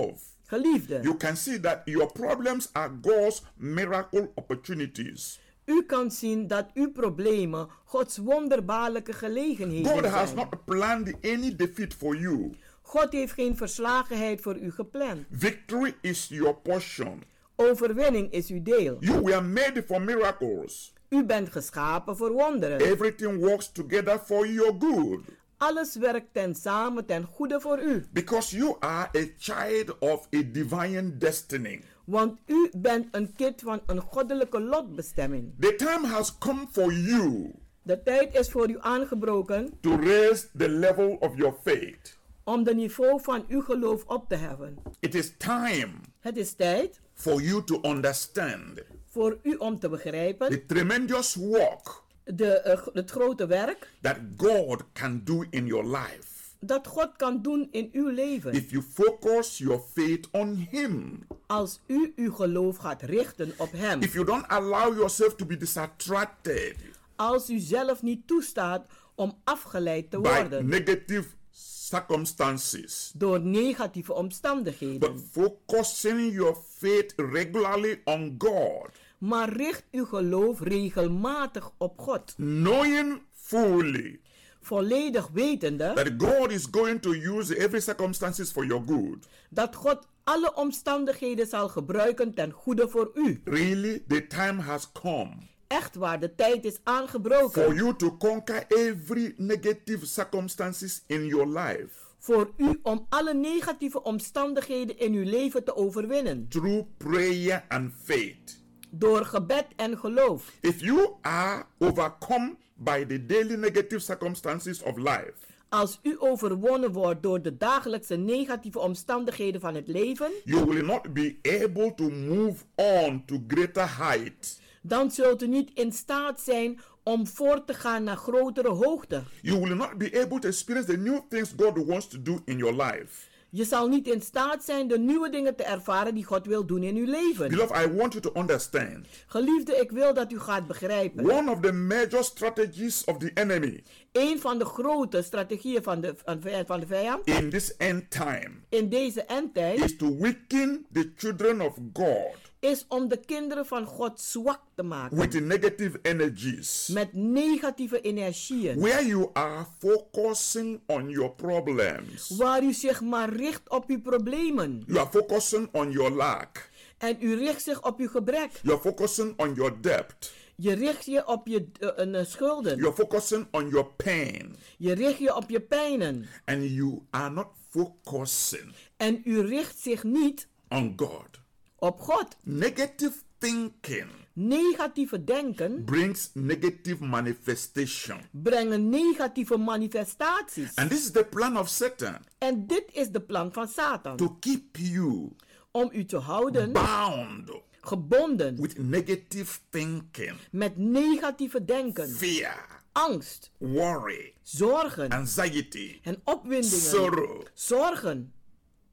Speaker 10: you
Speaker 11: Geliefde,
Speaker 10: can see that your problems are God's miracle opportunities.
Speaker 11: u kan zien dat uw problemen Gods wonderbaarlijke
Speaker 10: God
Speaker 11: gelegenheden
Speaker 10: has
Speaker 11: zijn.
Speaker 10: not planned any defeat for you.
Speaker 11: God heeft geen verslagenheid voor u gepland.
Speaker 10: Victory is your portion.
Speaker 11: Overwinning is uw deel.
Speaker 10: You were made for miracles.
Speaker 11: U bent geschapen voor wonderen.
Speaker 10: Eh- Everything works together for your good.
Speaker 11: Alles werkt ten samen ten goede voor u.
Speaker 10: Because you are a child of a divine destiny.
Speaker 11: Want u bent een kind van een goddelijke lotbestemming.
Speaker 10: The time has come for you
Speaker 11: De tijd is voor u aangebroken
Speaker 10: to raise the level of your faith.
Speaker 11: om de niveau van uw geloof op te heffen.
Speaker 10: It is time
Speaker 11: Het is tijd
Speaker 10: for you to understand
Speaker 11: voor u om te
Speaker 10: the
Speaker 11: begrijpen
Speaker 10: tremendous work
Speaker 11: de, eh, g- het grote werk
Speaker 10: that God can do in your life
Speaker 11: dat God kan doen in uw leven.
Speaker 10: if you focus your faith on Him.
Speaker 11: Als u uw geloof gaat richten op Hem.
Speaker 10: If you don't allow yourself to be distracted
Speaker 11: Als u zelf niet toestaat om afgeleid te
Speaker 10: by
Speaker 11: worden
Speaker 10: negative circumstances,
Speaker 11: door negatieve
Speaker 10: but
Speaker 11: omstandigheden.
Speaker 10: focusing your faith regularly on God,
Speaker 11: Maar richt uw geloof regelmatig op God.
Speaker 10: knowing fully
Speaker 11: Volledig wetende
Speaker 10: that God is going to use every circumstances for your good.
Speaker 11: dat God alle omstandigheden zal gebruiken ten goede voor u.
Speaker 10: Really, the time has come
Speaker 11: Echt waar, de tijd is
Speaker 10: for
Speaker 11: aangebroken
Speaker 10: you to conquer every negative circumstances in your life
Speaker 11: voor u om alle negatieve omstandigheden in uw leven te overwinnen.
Speaker 10: through prayer and faith.
Speaker 11: Door gebed en geloof.
Speaker 10: If you are overcome by the daily negative circumstances of life,
Speaker 11: Als u overwonnen wordt door de dagelijkse negatieve omstandigheden van het leven,
Speaker 10: you will not be able to move on to greater heights.
Speaker 11: dan zult u niet in staat zijn om voort te gaan naar grotere hoogte.
Speaker 10: You will not be able to experience the new things God wants to do in your life.
Speaker 11: Je zal niet in staat zijn de nieuwe dingen te ervaren die God wil doen in uw leven.
Speaker 10: Beloved, I want you to understand
Speaker 11: Geliefde, ik wil dat u gaat begrijpen.
Speaker 10: one of the major strategies of the enemy
Speaker 11: Een van de grote strategieën van de, van de- van de vijand
Speaker 10: in this end time
Speaker 11: in deze
Speaker 10: is
Speaker 11: endtijd
Speaker 10: to weaken the children of God
Speaker 11: is om de kinderen van God zwak te maken
Speaker 10: with negative energies.
Speaker 11: met negatieve energieën.
Speaker 10: Where you are focusing on your problems,
Speaker 11: Waar u zich maar richt op uw problemen.
Speaker 10: you are focusing on your lack,
Speaker 11: En u richt zich op uw gebrek.
Speaker 10: you are focusing on your debt,
Speaker 11: Je richt je op je eh, eh,
Speaker 10: you
Speaker 11: schulden.
Speaker 10: are focusing on your pain,
Speaker 11: Je richt je op je pijnen.
Speaker 10: and you are not focusing
Speaker 11: En u richt zich niet
Speaker 10: on God.
Speaker 11: op God.
Speaker 10: Negative thinking
Speaker 11: Negatieve denken
Speaker 10: brings negative manifestation.
Speaker 11: brengen negatieve manifestaties.
Speaker 10: And this is the plan of Satan
Speaker 11: En dit is de plan van Satan.
Speaker 10: to keep you
Speaker 11: Om u te houden
Speaker 10: bound
Speaker 11: gebonden
Speaker 10: with negative thinking,
Speaker 11: met negatieve denken,
Speaker 10: fear,
Speaker 11: angst,
Speaker 10: worry,
Speaker 11: zorgen
Speaker 10: anxiety,
Speaker 11: en opwindingen.
Speaker 10: sorrow.
Speaker 11: Zorgen.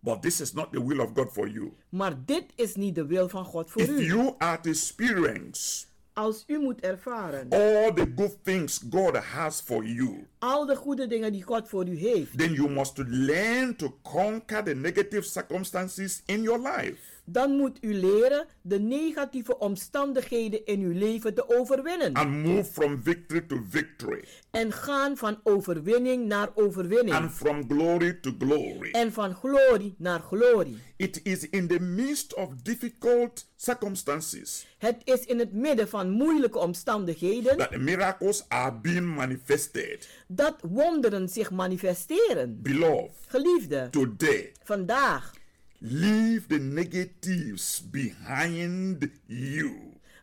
Speaker 10: But this is not the will of God for you.
Speaker 11: Maar dit is niet de wil van God voor
Speaker 10: If
Speaker 11: u.
Speaker 10: you are to experience
Speaker 11: Als u moet ervaren
Speaker 10: all the good things God has for you,
Speaker 11: al de goede dingen die God voor u heeft,
Speaker 10: then you must learn to conquer the negative circumstances in your life.
Speaker 11: dan moet u leren de negatieve omstandigheden in uw leven te overwinnen.
Speaker 10: and move from victory to victory
Speaker 11: En gaan van overwinning naar overwinning.
Speaker 10: and from glory to glory.
Speaker 11: en van glorie naar glorie.
Speaker 10: It is in the midst of difficult circumstances
Speaker 11: Het is in het midden van moeilijke omstandigheden
Speaker 10: that miracles are being manifested.
Speaker 11: dat wonderen zich manifesteren.
Speaker 10: Beloved,
Speaker 11: Geliefde,
Speaker 10: today,
Speaker 11: vandaag
Speaker 10: leave the negatives behind you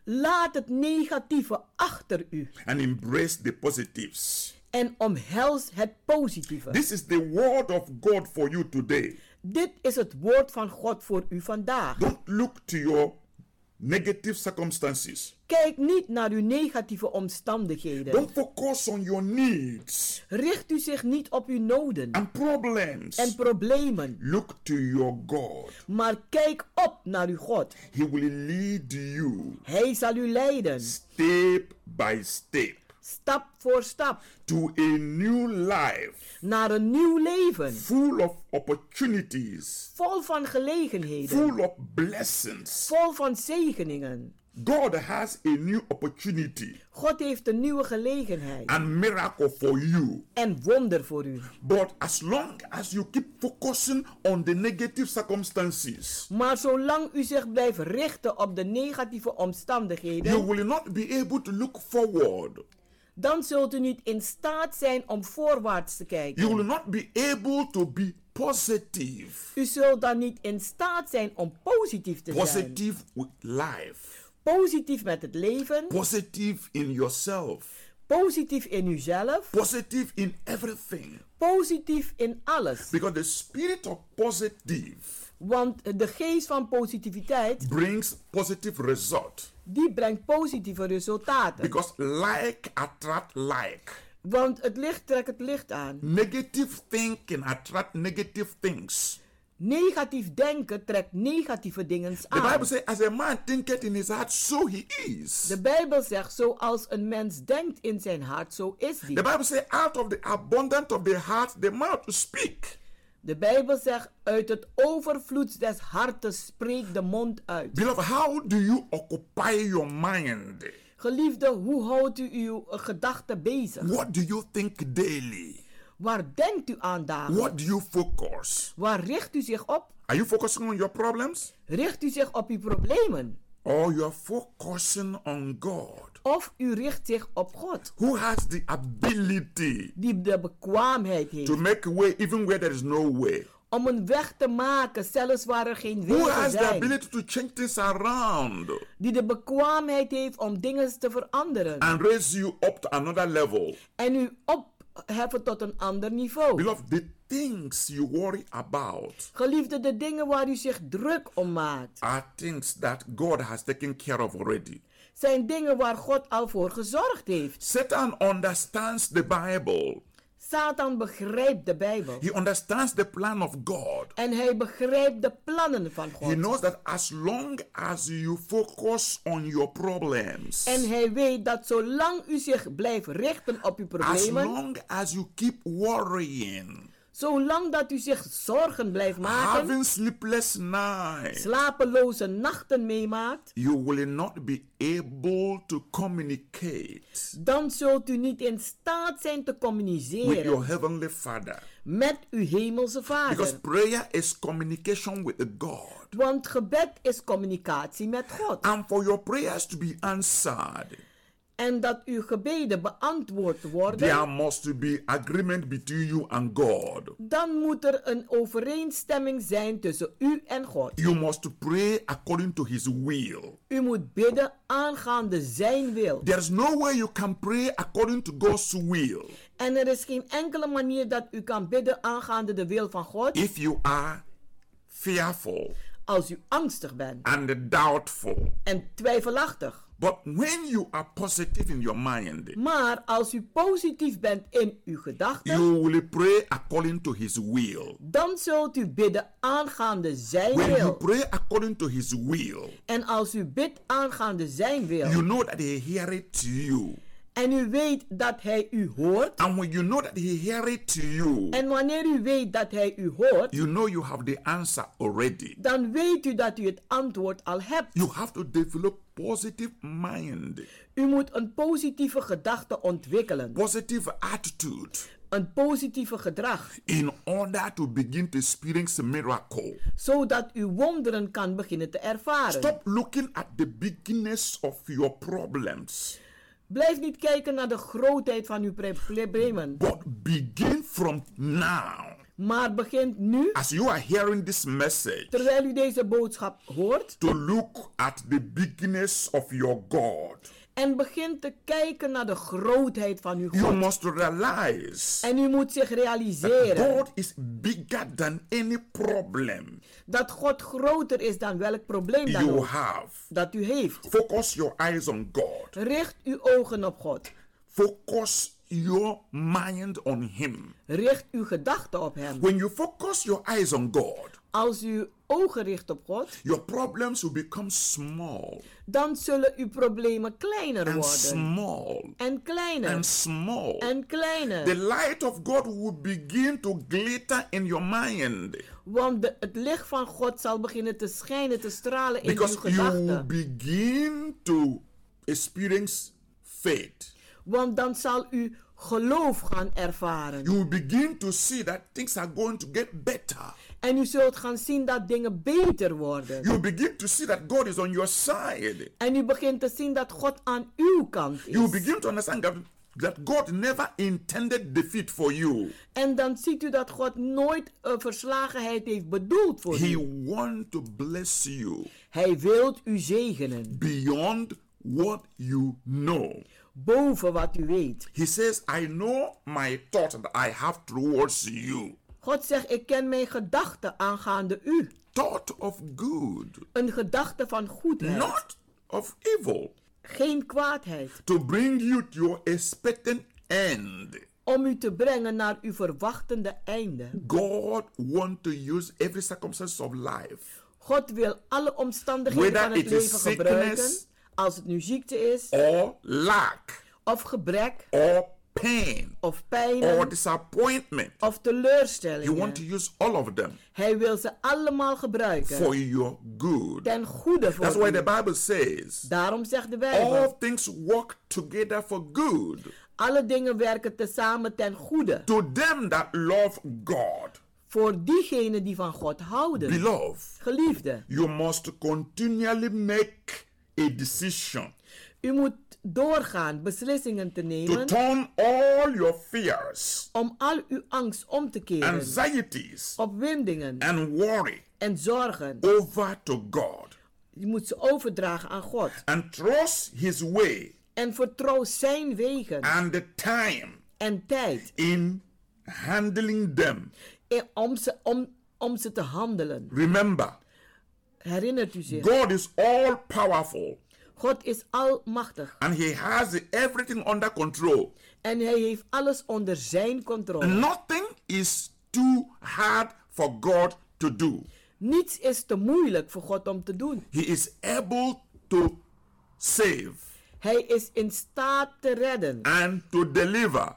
Speaker 11: laat het negatieve achter u
Speaker 10: and embrace the positives.
Speaker 11: en omhels het positieve.
Speaker 10: This is the word of God for you today.
Speaker 11: Dit is het woord van God voor u vandaag.
Speaker 10: Don't look to your negative circumstances.
Speaker 11: Kijk niet naar uw negatieve omstandigheden.
Speaker 10: Don't focus on your needs
Speaker 11: Richt u zich niet op uw noden
Speaker 10: and problems.
Speaker 11: en problemen,
Speaker 10: Look to your God.
Speaker 11: maar kijk op naar uw God.
Speaker 10: He will lead you
Speaker 11: Hij zal u leiden,
Speaker 10: step by step
Speaker 11: stap voor stap,
Speaker 10: to a new life
Speaker 11: naar een nieuw leven,
Speaker 10: full of opportunities,
Speaker 11: vol van gelegenheden,
Speaker 10: full of blessings,
Speaker 11: vol van zegeningen.
Speaker 10: God has a new opportunity.
Speaker 11: God heeft een nieuwe gelegenheid.
Speaker 10: And miracle for you.
Speaker 11: En wonder voor u.
Speaker 10: But as long as you keep focusing on the negative circumstances.
Speaker 11: Maar zolang u zich blijft richten op de negatieve omstandigheden.
Speaker 10: You will not be able to look forward.
Speaker 11: Dan zult u niet in staat zijn om voorwaarts te kijken.
Speaker 10: You will not be able to be positive.
Speaker 11: U zult dan niet in staat zijn om positief te
Speaker 10: positive
Speaker 11: zijn.
Speaker 10: Positive with life.
Speaker 11: Positief met het leven.
Speaker 10: Positive in yourself.
Speaker 11: Positief in uzelf.
Speaker 10: Positive in everything.
Speaker 11: Positief in alles.
Speaker 10: Because the spirit of positive.
Speaker 11: Want de geest van positiviteit
Speaker 10: brings positive result.
Speaker 11: Die brengt positieve resultaten.
Speaker 10: Because like attract like.
Speaker 11: Want het licht trekt het licht aan.
Speaker 10: Negative thinking attract negative things.
Speaker 11: Negatief denken trekt negatieve dingen aan.
Speaker 10: The Bible says, as a man thinketh in his heart, so he is.
Speaker 11: De Bijbel zegt, zoals een mens denkt in zijn hart, zo is hij.
Speaker 10: The Bible says, out of the abundance of the heart, the mouth speak.
Speaker 11: De Bijbel zegt, uit het overvloed des hartes spreekt de mond uit.
Speaker 10: Beloved, how do you occupy your mind?
Speaker 11: Geliefde, hoe houdt u uw gedachten bezig?
Speaker 10: What do you think daily?
Speaker 11: Waar denkt u aan dagelijks?
Speaker 10: What do you focus?
Speaker 11: Waar richt u zich op?
Speaker 10: Are you focusing on your problems?
Speaker 11: Richt u zich op uw problemen?
Speaker 10: Or you are focusing on God?
Speaker 11: Of u richt zich op God?
Speaker 10: Who has the ability?
Speaker 11: Die de bekwaamheid heeft.
Speaker 10: To make a way even where there is no way.
Speaker 11: Om een weg te maken, zelfs waar er geen wegen zijn.
Speaker 10: Who has the ability to change things around?
Speaker 11: Die de bekwaamheid heeft om dingen te veranderen.
Speaker 10: And raise you up to another level.
Speaker 11: En u op hebben tot een ander niveau.
Speaker 10: Beloved, the things you worry about.
Speaker 11: Geliefde, de dingen waar u zich druk om maakt.
Speaker 10: Are things that God has taken care of already.
Speaker 11: Zijn dingen waar God al voor gezorgd heeft.
Speaker 10: Satan understands the Bible.
Speaker 11: Satan begrijpt de Bijbel.
Speaker 10: He understands the plan of God.
Speaker 11: En hij begrijpt de plannen van God.
Speaker 10: He knows that as long as you focus on your problems.
Speaker 11: En hij weet dat zolang u zich blijft richten op uw problemen.
Speaker 10: As long as you keep worrying.
Speaker 11: Zolang dat u zich zorgen
Speaker 10: Ah,
Speaker 11: blijft maken.
Speaker 10: Having sleepless nights.
Speaker 11: Slapeloze nachten meemaakt.
Speaker 10: You will not be able to communicate.
Speaker 11: Dan zult u niet in staat zijn te communiceren.
Speaker 10: With your heavenly father.
Speaker 11: Met uw hemelse vader.
Speaker 10: Because prayer is communication with God.
Speaker 11: Want gebed is communicatie met God.
Speaker 10: And for your prayers to be answered
Speaker 11: en dat uw gebeden beantwoord worden.
Speaker 10: There must be agreement between you and God.
Speaker 11: Dan moet er een overeenstemming zijn tussen u en God.
Speaker 10: You must pray according to his will.
Speaker 11: U moet bidden aangaande zijn wil.
Speaker 10: There is no way you can pray according to God's will.
Speaker 11: En er is geen enkele manier dat u kan bidden aangaande de wil van God.
Speaker 10: If you are fearful.
Speaker 11: Als u angstig bent.
Speaker 10: And doubtful.
Speaker 11: En twijfelachtig.
Speaker 10: But when you are positive in your mind,
Speaker 11: maar als u positief bent in uw gedachten,
Speaker 10: you will pray according to his will.
Speaker 11: Dan zult u bidden aangaande zijn
Speaker 10: When
Speaker 11: wil.
Speaker 10: You pray according to his will.
Speaker 11: En als u bidt aangaande zijn wil,
Speaker 10: you know that he hear it to you.
Speaker 11: En u weet dat hij u hoort.
Speaker 10: And when you know that he hear it to you.
Speaker 11: En wanneer u weet dat hij u hoort.
Speaker 10: You know you have the answer already.
Speaker 11: Dan weet u dat u het antwoord al hebt.
Speaker 10: You have to develop positive mind.
Speaker 11: U moet een positieve gedachte ontwikkelen.
Speaker 10: Positive attitude.
Speaker 11: Een positieve gedrag.
Speaker 10: In order to begin to experience a miracle.
Speaker 11: Zodat u wonderen kan beginnen te ervaren.
Speaker 10: Stop looking at the bigness of your problems.
Speaker 11: Blijf niet kijken naar de grootheid van uw problemen.
Speaker 10: But begin from now.
Speaker 11: Maar begint nu.
Speaker 10: As you are hearing this message.
Speaker 11: Terwijl u deze boodschap hoort.
Speaker 10: To look at the bigness of your God.
Speaker 11: En begint te kijken naar de grootheid van uw God.
Speaker 10: You must realize.
Speaker 11: En u moet zich realiseren.
Speaker 10: God is bigger than any problem.
Speaker 11: Dat God groter is dan welk probleem dan
Speaker 10: you
Speaker 11: ook.
Speaker 10: Have.
Speaker 11: Dat u heeft.
Speaker 10: Focus your eyes on God.
Speaker 11: Richt uw ogen op God.
Speaker 10: Focus your mind on him.
Speaker 11: Richt uw gedachten op hem.
Speaker 10: When you focus your eyes on God.
Speaker 11: Als u ogen richt op God,
Speaker 10: your problems will become small
Speaker 11: dan zullen uw problemen kleiner
Speaker 10: and
Speaker 11: worden.
Speaker 10: small
Speaker 11: en kleiner.
Speaker 10: and small.
Speaker 11: en kleiner.
Speaker 10: The light of God will begin to glitter in your mind
Speaker 11: Want de- het licht van God zal beginnen te schijnen, te stralen in uw
Speaker 10: because you will
Speaker 11: gedachten.
Speaker 10: begin to experience faith.
Speaker 11: Want dan zal u geloof gaan ervaren.
Speaker 10: You will begin to see that things are going to get better.
Speaker 11: En u zult gaan zien dat dingen beter worden.
Speaker 10: You will begin to see that God is on your side.
Speaker 11: En u begint te zien dat God aan uw kant
Speaker 10: You will
Speaker 11: is.
Speaker 10: begin to understand that, that God never intended defeat for you.
Speaker 11: En dan ziet u dat God nooit een verslagenheid heeft bedoeld voor
Speaker 10: He
Speaker 11: u.
Speaker 10: wants to bless you
Speaker 11: Hij wilt u zegenen
Speaker 10: beyond what you know.
Speaker 11: boven wat u weet.
Speaker 10: He says, I know my thought that I have towards you.
Speaker 11: God zegt, ik ken mijn gedachten aangaande u.
Speaker 10: Thought of good,
Speaker 11: Een gedachte van goedheid,
Speaker 10: not of evil,
Speaker 11: geen kwaadheid.
Speaker 10: to bring you to your expectant end.
Speaker 11: Om u te brengen naar uw verwachtende einde.
Speaker 10: God wants to use every circumstance of life,
Speaker 11: God wil alle omstandigheden
Speaker 10: Whether
Speaker 11: van het
Speaker 10: it is
Speaker 11: leven gebruiken.
Speaker 10: sickness
Speaker 11: Als het nu ziekte is,
Speaker 10: or lack,
Speaker 11: of gebrek,
Speaker 10: or pain,
Speaker 11: of pijn,
Speaker 10: or disappointment.
Speaker 11: of
Speaker 10: He wants to
Speaker 11: teleurstellingen.
Speaker 10: use all of them
Speaker 11: Hij wil ze allemaal
Speaker 10: for
Speaker 11: gebruiken.
Speaker 10: your good.
Speaker 11: Ten goede voor
Speaker 10: That's why
Speaker 11: u.
Speaker 10: the Bible says,
Speaker 11: Daarom zegt de
Speaker 10: all
Speaker 11: Bijbel,
Speaker 10: things work together for good
Speaker 11: alle dingen werken tezamen ten goede.
Speaker 10: to them that love God.
Speaker 11: Voor diegenen die van God houden.
Speaker 10: Beloved,
Speaker 11: Geliefde,
Speaker 10: you must continually make a decision
Speaker 11: u moet doorgaan beslissingen te
Speaker 10: to
Speaker 11: nemen
Speaker 10: turn all your fears,
Speaker 11: om al uw angst om te keren.
Speaker 10: anxieties,
Speaker 11: Opwindingen
Speaker 10: and worry
Speaker 11: en zorgen.
Speaker 10: over to God
Speaker 11: Je moet ze overdragen aan God.
Speaker 10: and trust His way
Speaker 11: En vertrouw zijn wegen
Speaker 10: and the time
Speaker 11: en tijd
Speaker 10: in handling them.
Speaker 11: in- om ze, om, om ze te handelen.
Speaker 10: Remember,
Speaker 11: Herinnert u zich,
Speaker 10: God is all powerful
Speaker 11: God is almachtig
Speaker 10: and He has everything under control.
Speaker 11: en hij heeft alles onder zijn controle.
Speaker 10: Nothing is too hard for God to do.
Speaker 11: Niets is te moeilijk voor God om te doen.
Speaker 10: He is able to save
Speaker 11: Hij is in staat te redden
Speaker 10: and to deliver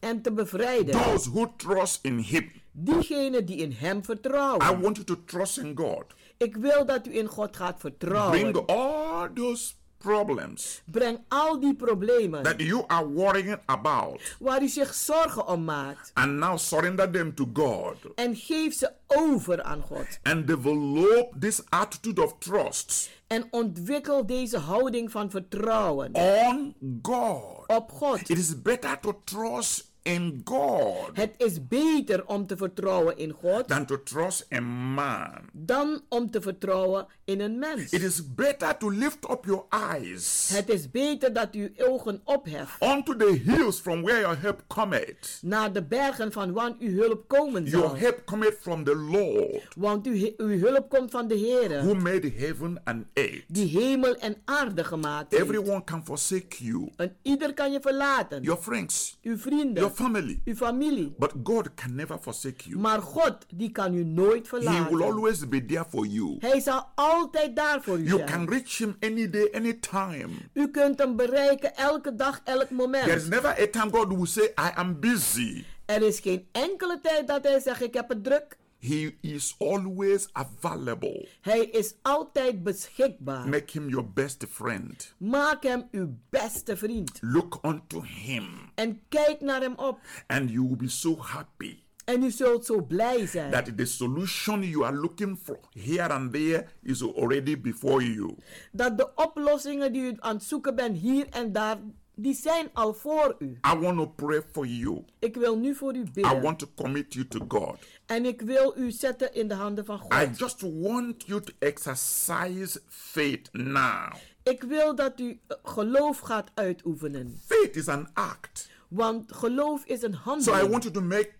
Speaker 11: en te bevrijden.
Speaker 10: those who trust in Him.
Speaker 11: Diegenen die in hem
Speaker 10: I
Speaker 11: vertrouwen.
Speaker 10: want you to trust in God.
Speaker 11: Ik wil dat u in God gaat
Speaker 10: Bring
Speaker 11: vertrouwen.
Speaker 10: all those problems
Speaker 11: Breng al die problemen
Speaker 10: that you are worrying about
Speaker 11: waar u zich zorgen om maakt
Speaker 10: and now surrender them to God
Speaker 11: en geef ze over aan God.
Speaker 10: and develop this attitude of trust
Speaker 11: En ontwikkel deze houding van vertrouwen
Speaker 10: on God.
Speaker 11: op God.
Speaker 10: It is better to trust in God
Speaker 11: Het is beter om te vertrouwen in God
Speaker 10: than to trust in man.
Speaker 11: dan om te vertrouwen in een mens.
Speaker 10: It is better to lift up your eyes
Speaker 11: Het is beter dat u uw ogen opheft
Speaker 10: unto the hills from where your help cometh.
Speaker 11: naar de bergen van waar uw hulp komen
Speaker 10: Your
Speaker 11: zal.
Speaker 10: help cometh from the Lord
Speaker 11: Want uw, he- uw hulp komt van de
Speaker 10: who
Speaker 11: Heer,
Speaker 10: made heaven and earth.
Speaker 11: die hemel en aarde gemaakt heeft.
Speaker 10: Everyone can forsake you,
Speaker 11: En ieder kan je verlaten.
Speaker 10: your friends,
Speaker 11: Uw
Speaker 10: your
Speaker 11: vrienden,
Speaker 10: family,
Speaker 11: uw familie.
Speaker 10: but God can never forsake you.
Speaker 11: Maar God, die kan u nooit
Speaker 10: He will
Speaker 11: verlaten.
Speaker 10: always be there for you.
Speaker 11: Hij zal altijd daar voor u
Speaker 10: You
Speaker 11: zijn.
Speaker 10: can reach Him any day, any time.
Speaker 11: U kunt hem bereiken elke dag, elk
Speaker 10: There is
Speaker 11: moment.
Speaker 10: never a time God will say, I am busy.
Speaker 11: Er is geen enkele tijd dat hij zegt: Ik heb het druk.
Speaker 10: He is always available.
Speaker 11: Hij is altijd beschikbaar.
Speaker 10: Make him your best friend.
Speaker 11: Maak hem uw beste vriend.
Speaker 10: Look unto him,
Speaker 11: En kijk naar hem op.
Speaker 10: and you will be so happy
Speaker 11: En u zult zo blij zijn
Speaker 10: that the solution you are looking for here and there is already before you.
Speaker 11: dat de oplossingen die u aan het zoeken bent hier en daar, die zijn al voor u.
Speaker 10: I want to pray for you.
Speaker 11: Ik wil nu voor u
Speaker 10: I
Speaker 11: bidden.
Speaker 10: want to commit you to God.
Speaker 11: En ik wil u zetten in de handen van
Speaker 10: I
Speaker 11: God.
Speaker 10: just want you to exercise faith now.
Speaker 11: Ik wil dat u eh, geloof gaat uitoefenen.
Speaker 10: Faith is an act.
Speaker 11: Want geloof is een
Speaker 10: So I
Speaker 11: handeling.
Speaker 10: want you to make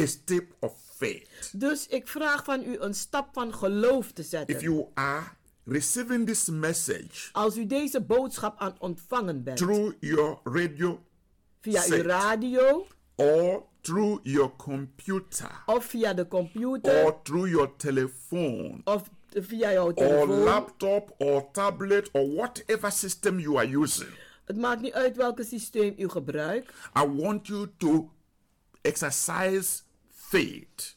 Speaker 10: a step of faith.
Speaker 11: Dus ik vraag van u een stap van geloof te
Speaker 10: If
Speaker 11: zetten.
Speaker 10: you are receiving this message
Speaker 11: Als u deze boodschap aan het ontvangen bent
Speaker 10: through your radio
Speaker 11: via uw
Speaker 10: set.
Speaker 11: radio
Speaker 10: or through your computer
Speaker 11: of via de computer
Speaker 10: or through your telephone
Speaker 11: of via jouw
Speaker 10: or
Speaker 11: telefoon.
Speaker 10: laptop or tablet or whatever system you are using.
Speaker 11: Het maakt niet uit welk systeem u gebruikt,
Speaker 10: I want you to exercise faith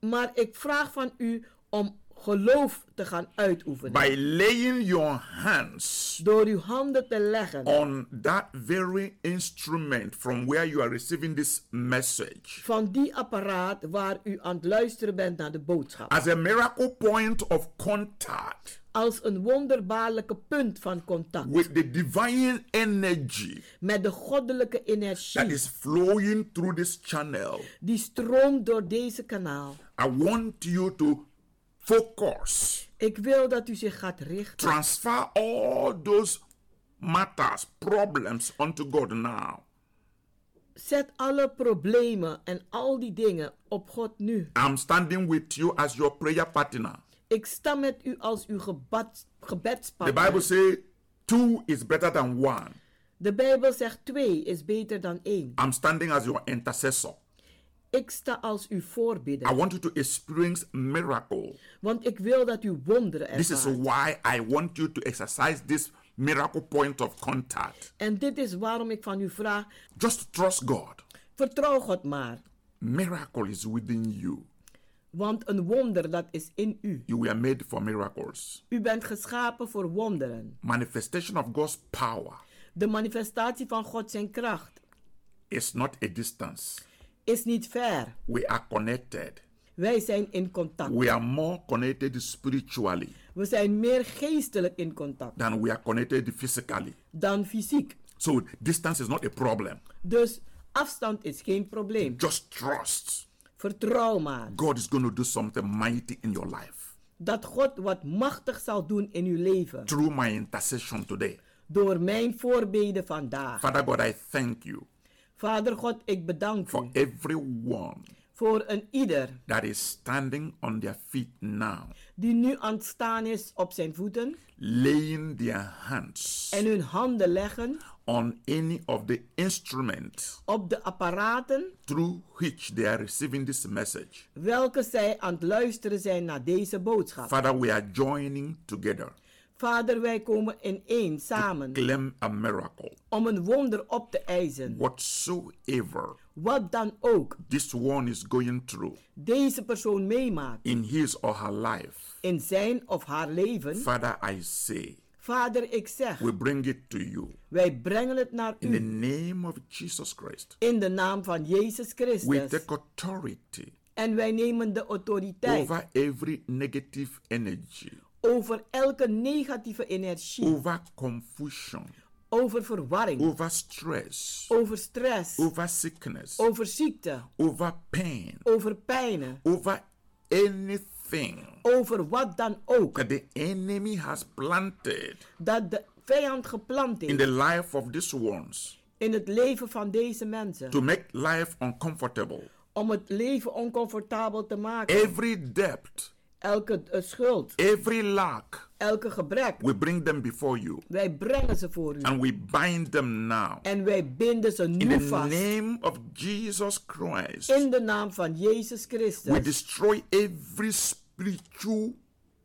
Speaker 11: maar ik vraag van u om geloof te gaan uitoefenen.
Speaker 10: by laying your hands
Speaker 11: door uw handen te leggen
Speaker 10: on that very instrument from where you are receiving this message
Speaker 11: van die apparaat waar u aan het luisteren bent naar de boodschap.
Speaker 10: as a miracle point of contact
Speaker 11: Als een wonderbaarlijke punt van contact
Speaker 10: with the divine energy
Speaker 11: met de goddelijke
Speaker 10: that
Speaker 11: energie
Speaker 10: is flowing through this channel.
Speaker 11: die stroomt door deze kanaal.
Speaker 10: I want you to focus,
Speaker 11: Ik wil dat u zich gaat richten.
Speaker 10: transfer all those matters, problems onto God now.
Speaker 11: Zet alle problemen en al die dingen op God nu.
Speaker 10: I'm standing with you as your prayer partner.
Speaker 11: Ik sta met u als uw gebad,
Speaker 10: The Bible
Speaker 11: gebedspartner.
Speaker 10: says two is better than one.
Speaker 11: De Bijbel zegt twee is beter dan één.
Speaker 10: I'm standing as your intercessor.
Speaker 11: Ik sta als uw
Speaker 10: I
Speaker 11: voorbidder.
Speaker 10: want you to experience miracle.
Speaker 11: Want ik wil dat u wonderen
Speaker 10: This is
Speaker 11: ervaart.
Speaker 10: why I want you to exercise this miracle point of contact.
Speaker 11: En dit is waarom ik van u vraag,
Speaker 10: Just trust God.
Speaker 11: vertrouw God maar.
Speaker 10: Miracle is within you.
Speaker 11: Want een wonder dat is in u.
Speaker 10: You were made for miracles.
Speaker 11: U bent geschapen voor wonderen.
Speaker 10: Manifestation of God's power
Speaker 11: De manifestatie van God zijn kracht
Speaker 10: is not a distance.
Speaker 11: is niet ver.
Speaker 10: We are connected.
Speaker 11: Wij zijn in contact.
Speaker 10: We are more connected spiritually
Speaker 11: We zijn meer geestelijk in contact
Speaker 10: than we are connected physically.
Speaker 11: dan fysiek.
Speaker 10: So distance is not a problem.
Speaker 11: Dus afstand is geen probleem.
Speaker 10: Just trust.
Speaker 11: Vertrouw maar
Speaker 10: God is going to do something mighty in your life
Speaker 11: dat God wat machtig zal doen in uw leven.
Speaker 10: through my intercession today.
Speaker 11: Door mijn voorbeden vandaag.
Speaker 10: Father God, I thank you
Speaker 11: Vader God, ik bedank
Speaker 10: for
Speaker 11: u
Speaker 10: everyone
Speaker 11: voor een ieder
Speaker 10: that is standing on their feet now,
Speaker 11: die nu aan het staan is op zijn voeten
Speaker 10: laying their hands
Speaker 11: en hun handen leggen
Speaker 10: on any of the instruments
Speaker 11: op de apparaten
Speaker 10: through which they are receiving this message.
Speaker 11: welke zij aan het luisteren zijn naar deze boodschap.
Speaker 10: Father, we are joining together
Speaker 11: Vader, wij komen ineen samen
Speaker 10: claim a miracle.
Speaker 11: om een wonder op te eisen.
Speaker 10: Whatsoever
Speaker 11: Wat dan ook
Speaker 10: this one is going through
Speaker 11: deze persoon meemaakt
Speaker 10: in his or her life,
Speaker 11: in zijn of haar leven,
Speaker 10: Father, I say,
Speaker 11: Vader, ik zeg,
Speaker 10: we bring it to you.
Speaker 11: wij brengen het naar
Speaker 10: In the
Speaker 11: u
Speaker 10: name of Jesus Christ,
Speaker 11: in de naam van Jezus
Speaker 10: we
Speaker 11: Christus.
Speaker 10: take authority
Speaker 11: En wij nemen de autoriteit
Speaker 10: over every negative energy,
Speaker 11: over elke negatieve energie,
Speaker 10: over confusion,
Speaker 11: over verwarring,
Speaker 10: over stress,
Speaker 11: over stress,
Speaker 10: over sickness,
Speaker 11: over ziekte,
Speaker 10: over pain,
Speaker 11: over pijnen,
Speaker 10: over anything
Speaker 11: over wat dan ook
Speaker 10: that the enemy has planted
Speaker 11: dat de vijand geplant
Speaker 10: in the
Speaker 11: heeft
Speaker 10: life of these ones
Speaker 11: in het leven van deze mensen.
Speaker 10: to make life uncomfortable.
Speaker 11: om het leven oncomfortabel te maken.
Speaker 10: Every debt,
Speaker 11: Elke eh, schuld,
Speaker 10: every lack,
Speaker 11: elke gebrek,
Speaker 10: we bring them before you
Speaker 11: wij brengen ze voor u.
Speaker 10: and we bind them now.
Speaker 11: En wij binden ze
Speaker 10: In
Speaker 11: nu
Speaker 10: the
Speaker 11: vast.
Speaker 10: name of Jesus Christ,
Speaker 11: In de naam van Jezus
Speaker 10: we
Speaker 11: Christus.
Speaker 10: destroy every spiritual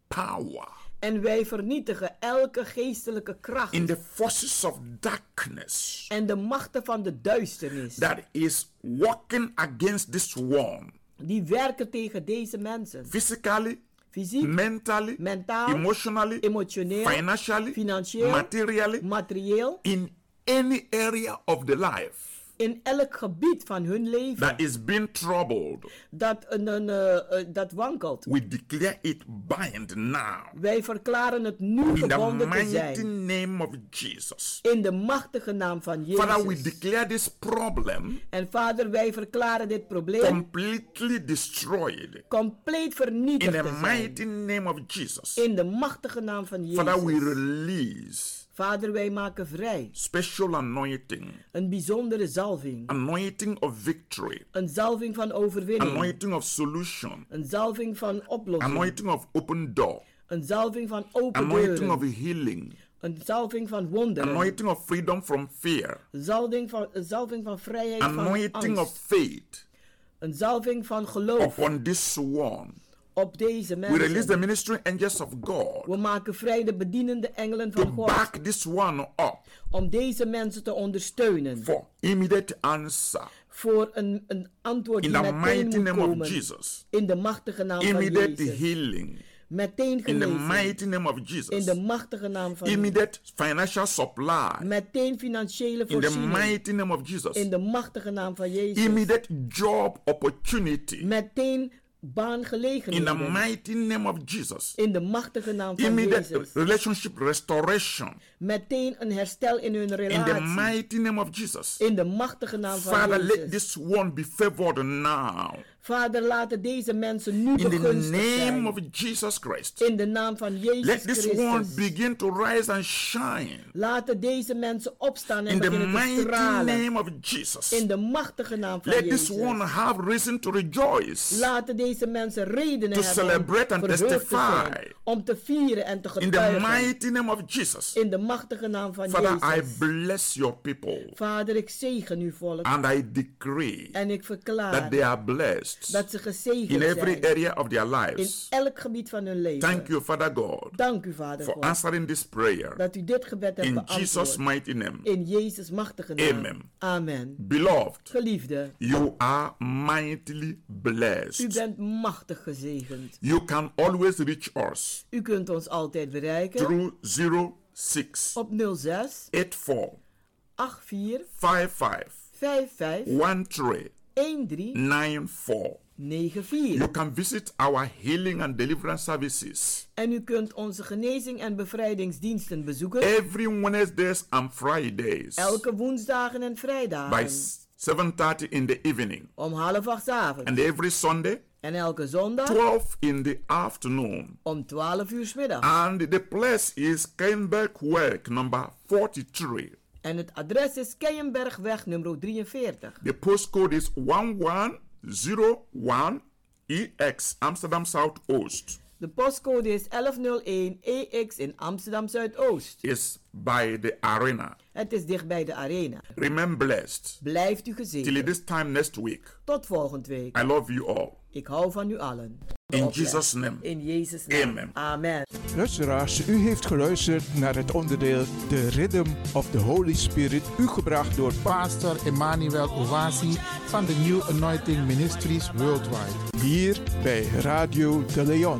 Speaker 10: power
Speaker 11: En wij vernietigen elke geestelijke kracht
Speaker 10: in the forces of darkness
Speaker 11: en de machten van de duisternis.
Speaker 10: that is working against this one
Speaker 11: Die werken tegen deze mensen.
Speaker 10: physically,
Speaker 11: Fysiek,
Speaker 10: mentally,
Speaker 11: mentaal,
Speaker 10: emotionally,
Speaker 11: emotioneel,
Speaker 10: financially,
Speaker 11: financieel,
Speaker 10: materially,
Speaker 11: materieel.
Speaker 10: in any area of the life
Speaker 11: In elk gebied van hun leven
Speaker 10: that is being troubled,
Speaker 11: dat, een, een, eh, eh, dat wankelt.
Speaker 10: we declare it bind now.
Speaker 11: Wij verklaren het nu
Speaker 10: In the
Speaker 11: gebonden te
Speaker 10: mighty
Speaker 11: zijn.
Speaker 10: name of Jesus.
Speaker 11: In de machtige naam van
Speaker 10: Father, we
Speaker 11: Jezus.
Speaker 10: declare this problem
Speaker 11: En vader, wij verklaren dit probleem
Speaker 10: completely destroyed.
Speaker 11: compleet
Speaker 10: In
Speaker 11: vernietigd
Speaker 10: the
Speaker 11: te zijn.
Speaker 10: mighty name of Jesus.
Speaker 11: In de machtige naam van
Speaker 10: Father, we
Speaker 11: Jezus.
Speaker 10: release
Speaker 11: Vader, wij maken vrij.
Speaker 10: special anointing,
Speaker 11: Een bijzondere zalving.
Speaker 10: anointing of victory,
Speaker 11: Een zalving van overwinning.
Speaker 10: anointing of solution,
Speaker 11: Een zalving van oplossing.
Speaker 10: anointing of open door,
Speaker 11: Een zalving van open
Speaker 10: anointing of
Speaker 11: deuren.
Speaker 10: healing,
Speaker 11: Een zalving van wonderen.
Speaker 10: Anointing of freedom from fear.
Speaker 11: Zalving van, een zalving van vrijheid
Speaker 10: Anointing of
Speaker 11: van angst.
Speaker 10: faith
Speaker 11: Een zalving van geloof
Speaker 10: upon this one.
Speaker 11: op deze
Speaker 10: We release the
Speaker 11: mensen.
Speaker 10: ministering angels of God
Speaker 11: We maken vrij de bedienende engelen
Speaker 10: to
Speaker 11: van God
Speaker 10: back this one up
Speaker 11: om deze mensen te ondersteunen
Speaker 10: for immediate answer
Speaker 11: voor een, een antwoord
Speaker 10: in
Speaker 11: die
Speaker 10: the
Speaker 11: meteen
Speaker 10: mighty
Speaker 11: moet
Speaker 10: name of
Speaker 11: komen.
Speaker 10: Jesus.
Speaker 11: In de machtige naam van
Speaker 10: Immediate
Speaker 11: Jezus.
Speaker 10: healing
Speaker 11: Meteen
Speaker 10: in the
Speaker 11: genezing.
Speaker 10: mighty name of
Speaker 11: In
Speaker 10: Jesus.
Speaker 11: de machtige naam van Jezus.
Speaker 10: Immediate financial supply
Speaker 11: Meteen financiële
Speaker 10: in the
Speaker 11: voorziening.
Speaker 10: mighty name of Jesus.
Speaker 11: In de machtige naam van Jezus.
Speaker 10: Immediate job opportunity
Speaker 11: Meteen
Speaker 10: in the
Speaker 11: baangelegenheden.
Speaker 10: mighty name of Jesus.
Speaker 11: In de machtige naam van
Speaker 10: Immediate
Speaker 11: Jezus.
Speaker 10: relationship restoration
Speaker 11: Meteen een herstel in hun
Speaker 10: in the
Speaker 11: relatie.
Speaker 10: mighty name of Jesus.
Speaker 11: In de machtige naam van
Speaker 10: Father, let
Speaker 11: Jezus.
Speaker 10: this one be favored now.
Speaker 11: Vader, laten deze mensen nu
Speaker 10: In the
Speaker 11: begunstigd
Speaker 10: name
Speaker 11: zijn.
Speaker 10: of Jesus Christ,
Speaker 11: In de naam van
Speaker 10: let
Speaker 11: Jezus
Speaker 10: this one
Speaker 11: Christus.
Speaker 10: begin to rise and shine.
Speaker 11: Laten deze mensen opstaan en
Speaker 10: In the
Speaker 11: beginnen te
Speaker 10: mighty
Speaker 11: stralen.
Speaker 10: name of Jesus,
Speaker 11: In de machtige naam van
Speaker 10: let this one
Speaker 11: Jezus.
Speaker 10: have reason to rejoice.
Speaker 11: Laten deze mensen redenen
Speaker 10: To
Speaker 11: hebben om
Speaker 10: celebrate and
Speaker 11: verheugd te
Speaker 10: testify.
Speaker 11: zijn, om te vieren en te
Speaker 10: In the
Speaker 11: getuigen.
Speaker 10: mighty name of Jesus,
Speaker 11: In de machtige naam van
Speaker 10: Father, I
Speaker 11: Jezus.
Speaker 10: bless your people
Speaker 11: Vader, ik zegen uw volk
Speaker 10: and I decree
Speaker 11: en ik
Speaker 10: that they
Speaker 11: verklaar
Speaker 10: are blessed
Speaker 11: dat ze gezegend
Speaker 10: in every
Speaker 11: zijn
Speaker 10: area of their
Speaker 11: in
Speaker 10: lives.
Speaker 11: elk gebied van hun leven.
Speaker 10: Thank you, Father God,
Speaker 11: Dank u, Vader,
Speaker 10: for
Speaker 11: God,
Speaker 10: answering this prayer
Speaker 11: dat u dit gebed hebt
Speaker 10: in Jesus'
Speaker 11: beantwoord.
Speaker 10: mighty name.
Speaker 11: In Jezus' machtige naam.
Speaker 10: Amen.
Speaker 11: Amen.
Speaker 10: Beloved,
Speaker 11: Geliefde,
Speaker 10: you are mightily
Speaker 11: u
Speaker 10: blessed.
Speaker 11: bent machtig gezegend.
Speaker 10: You can always reach us
Speaker 11: U kunt ons altijd bereiken
Speaker 10: through 06
Speaker 11: op 06
Speaker 10: 84
Speaker 11: 84
Speaker 10: 55
Speaker 11: 55
Speaker 10: 13
Speaker 11: 13
Speaker 10: 94.
Speaker 11: 94.
Speaker 10: You can visit our healing and deliverance services
Speaker 11: En u kunt onze genezing en bevrijdingsdiensten bezoeken
Speaker 10: every Wednesdays and Fridays
Speaker 11: elke woensdagen en
Speaker 10: by
Speaker 11: vrijdagen
Speaker 10: 7:30 in the evening
Speaker 11: om half acht 's
Speaker 10: and
Speaker 11: avonds
Speaker 10: every Sunday
Speaker 11: en elke zondag
Speaker 10: 12 in the afternoon.
Speaker 11: om 12 uur 's middag.
Speaker 10: And the place is Kenberg Work number 43.
Speaker 11: En het adres is Keienbergweg nummer 43.
Speaker 10: The postcode is 1101 EX, E Amsterdam South Oost.
Speaker 11: De postcode is 1101 EX E in Amsterdam Zuidoost.
Speaker 10: Is by the arena.
Speaker 11: Het is dicht bij de arena.
Speaker 10: Remain blessed.
Speaker 11: Blijft
Speaker 10: Till
Speaker 11: u gezegend.
Speaker 10: this time next week.
Speaker 11: Tot volgende week.
Speaker 10: I love you all.
Speaker 11: Ik hou van u allen.
Speaker 10: In Jesus' name.
Speaker 11: In Jezus' naam.
Speaker 10: Amen.
Speaker 11: Amen.
Speaker 12: Luisteraars, u heeft geluisterd naar het onderdeel The Rhythm of the Holy Spirit, u gebracht door
Speaker 8: Pastor Emmanuel Owasi van de New Anointing Ministries Worldwide.
Speaker 12: hier bij Radio de Leon.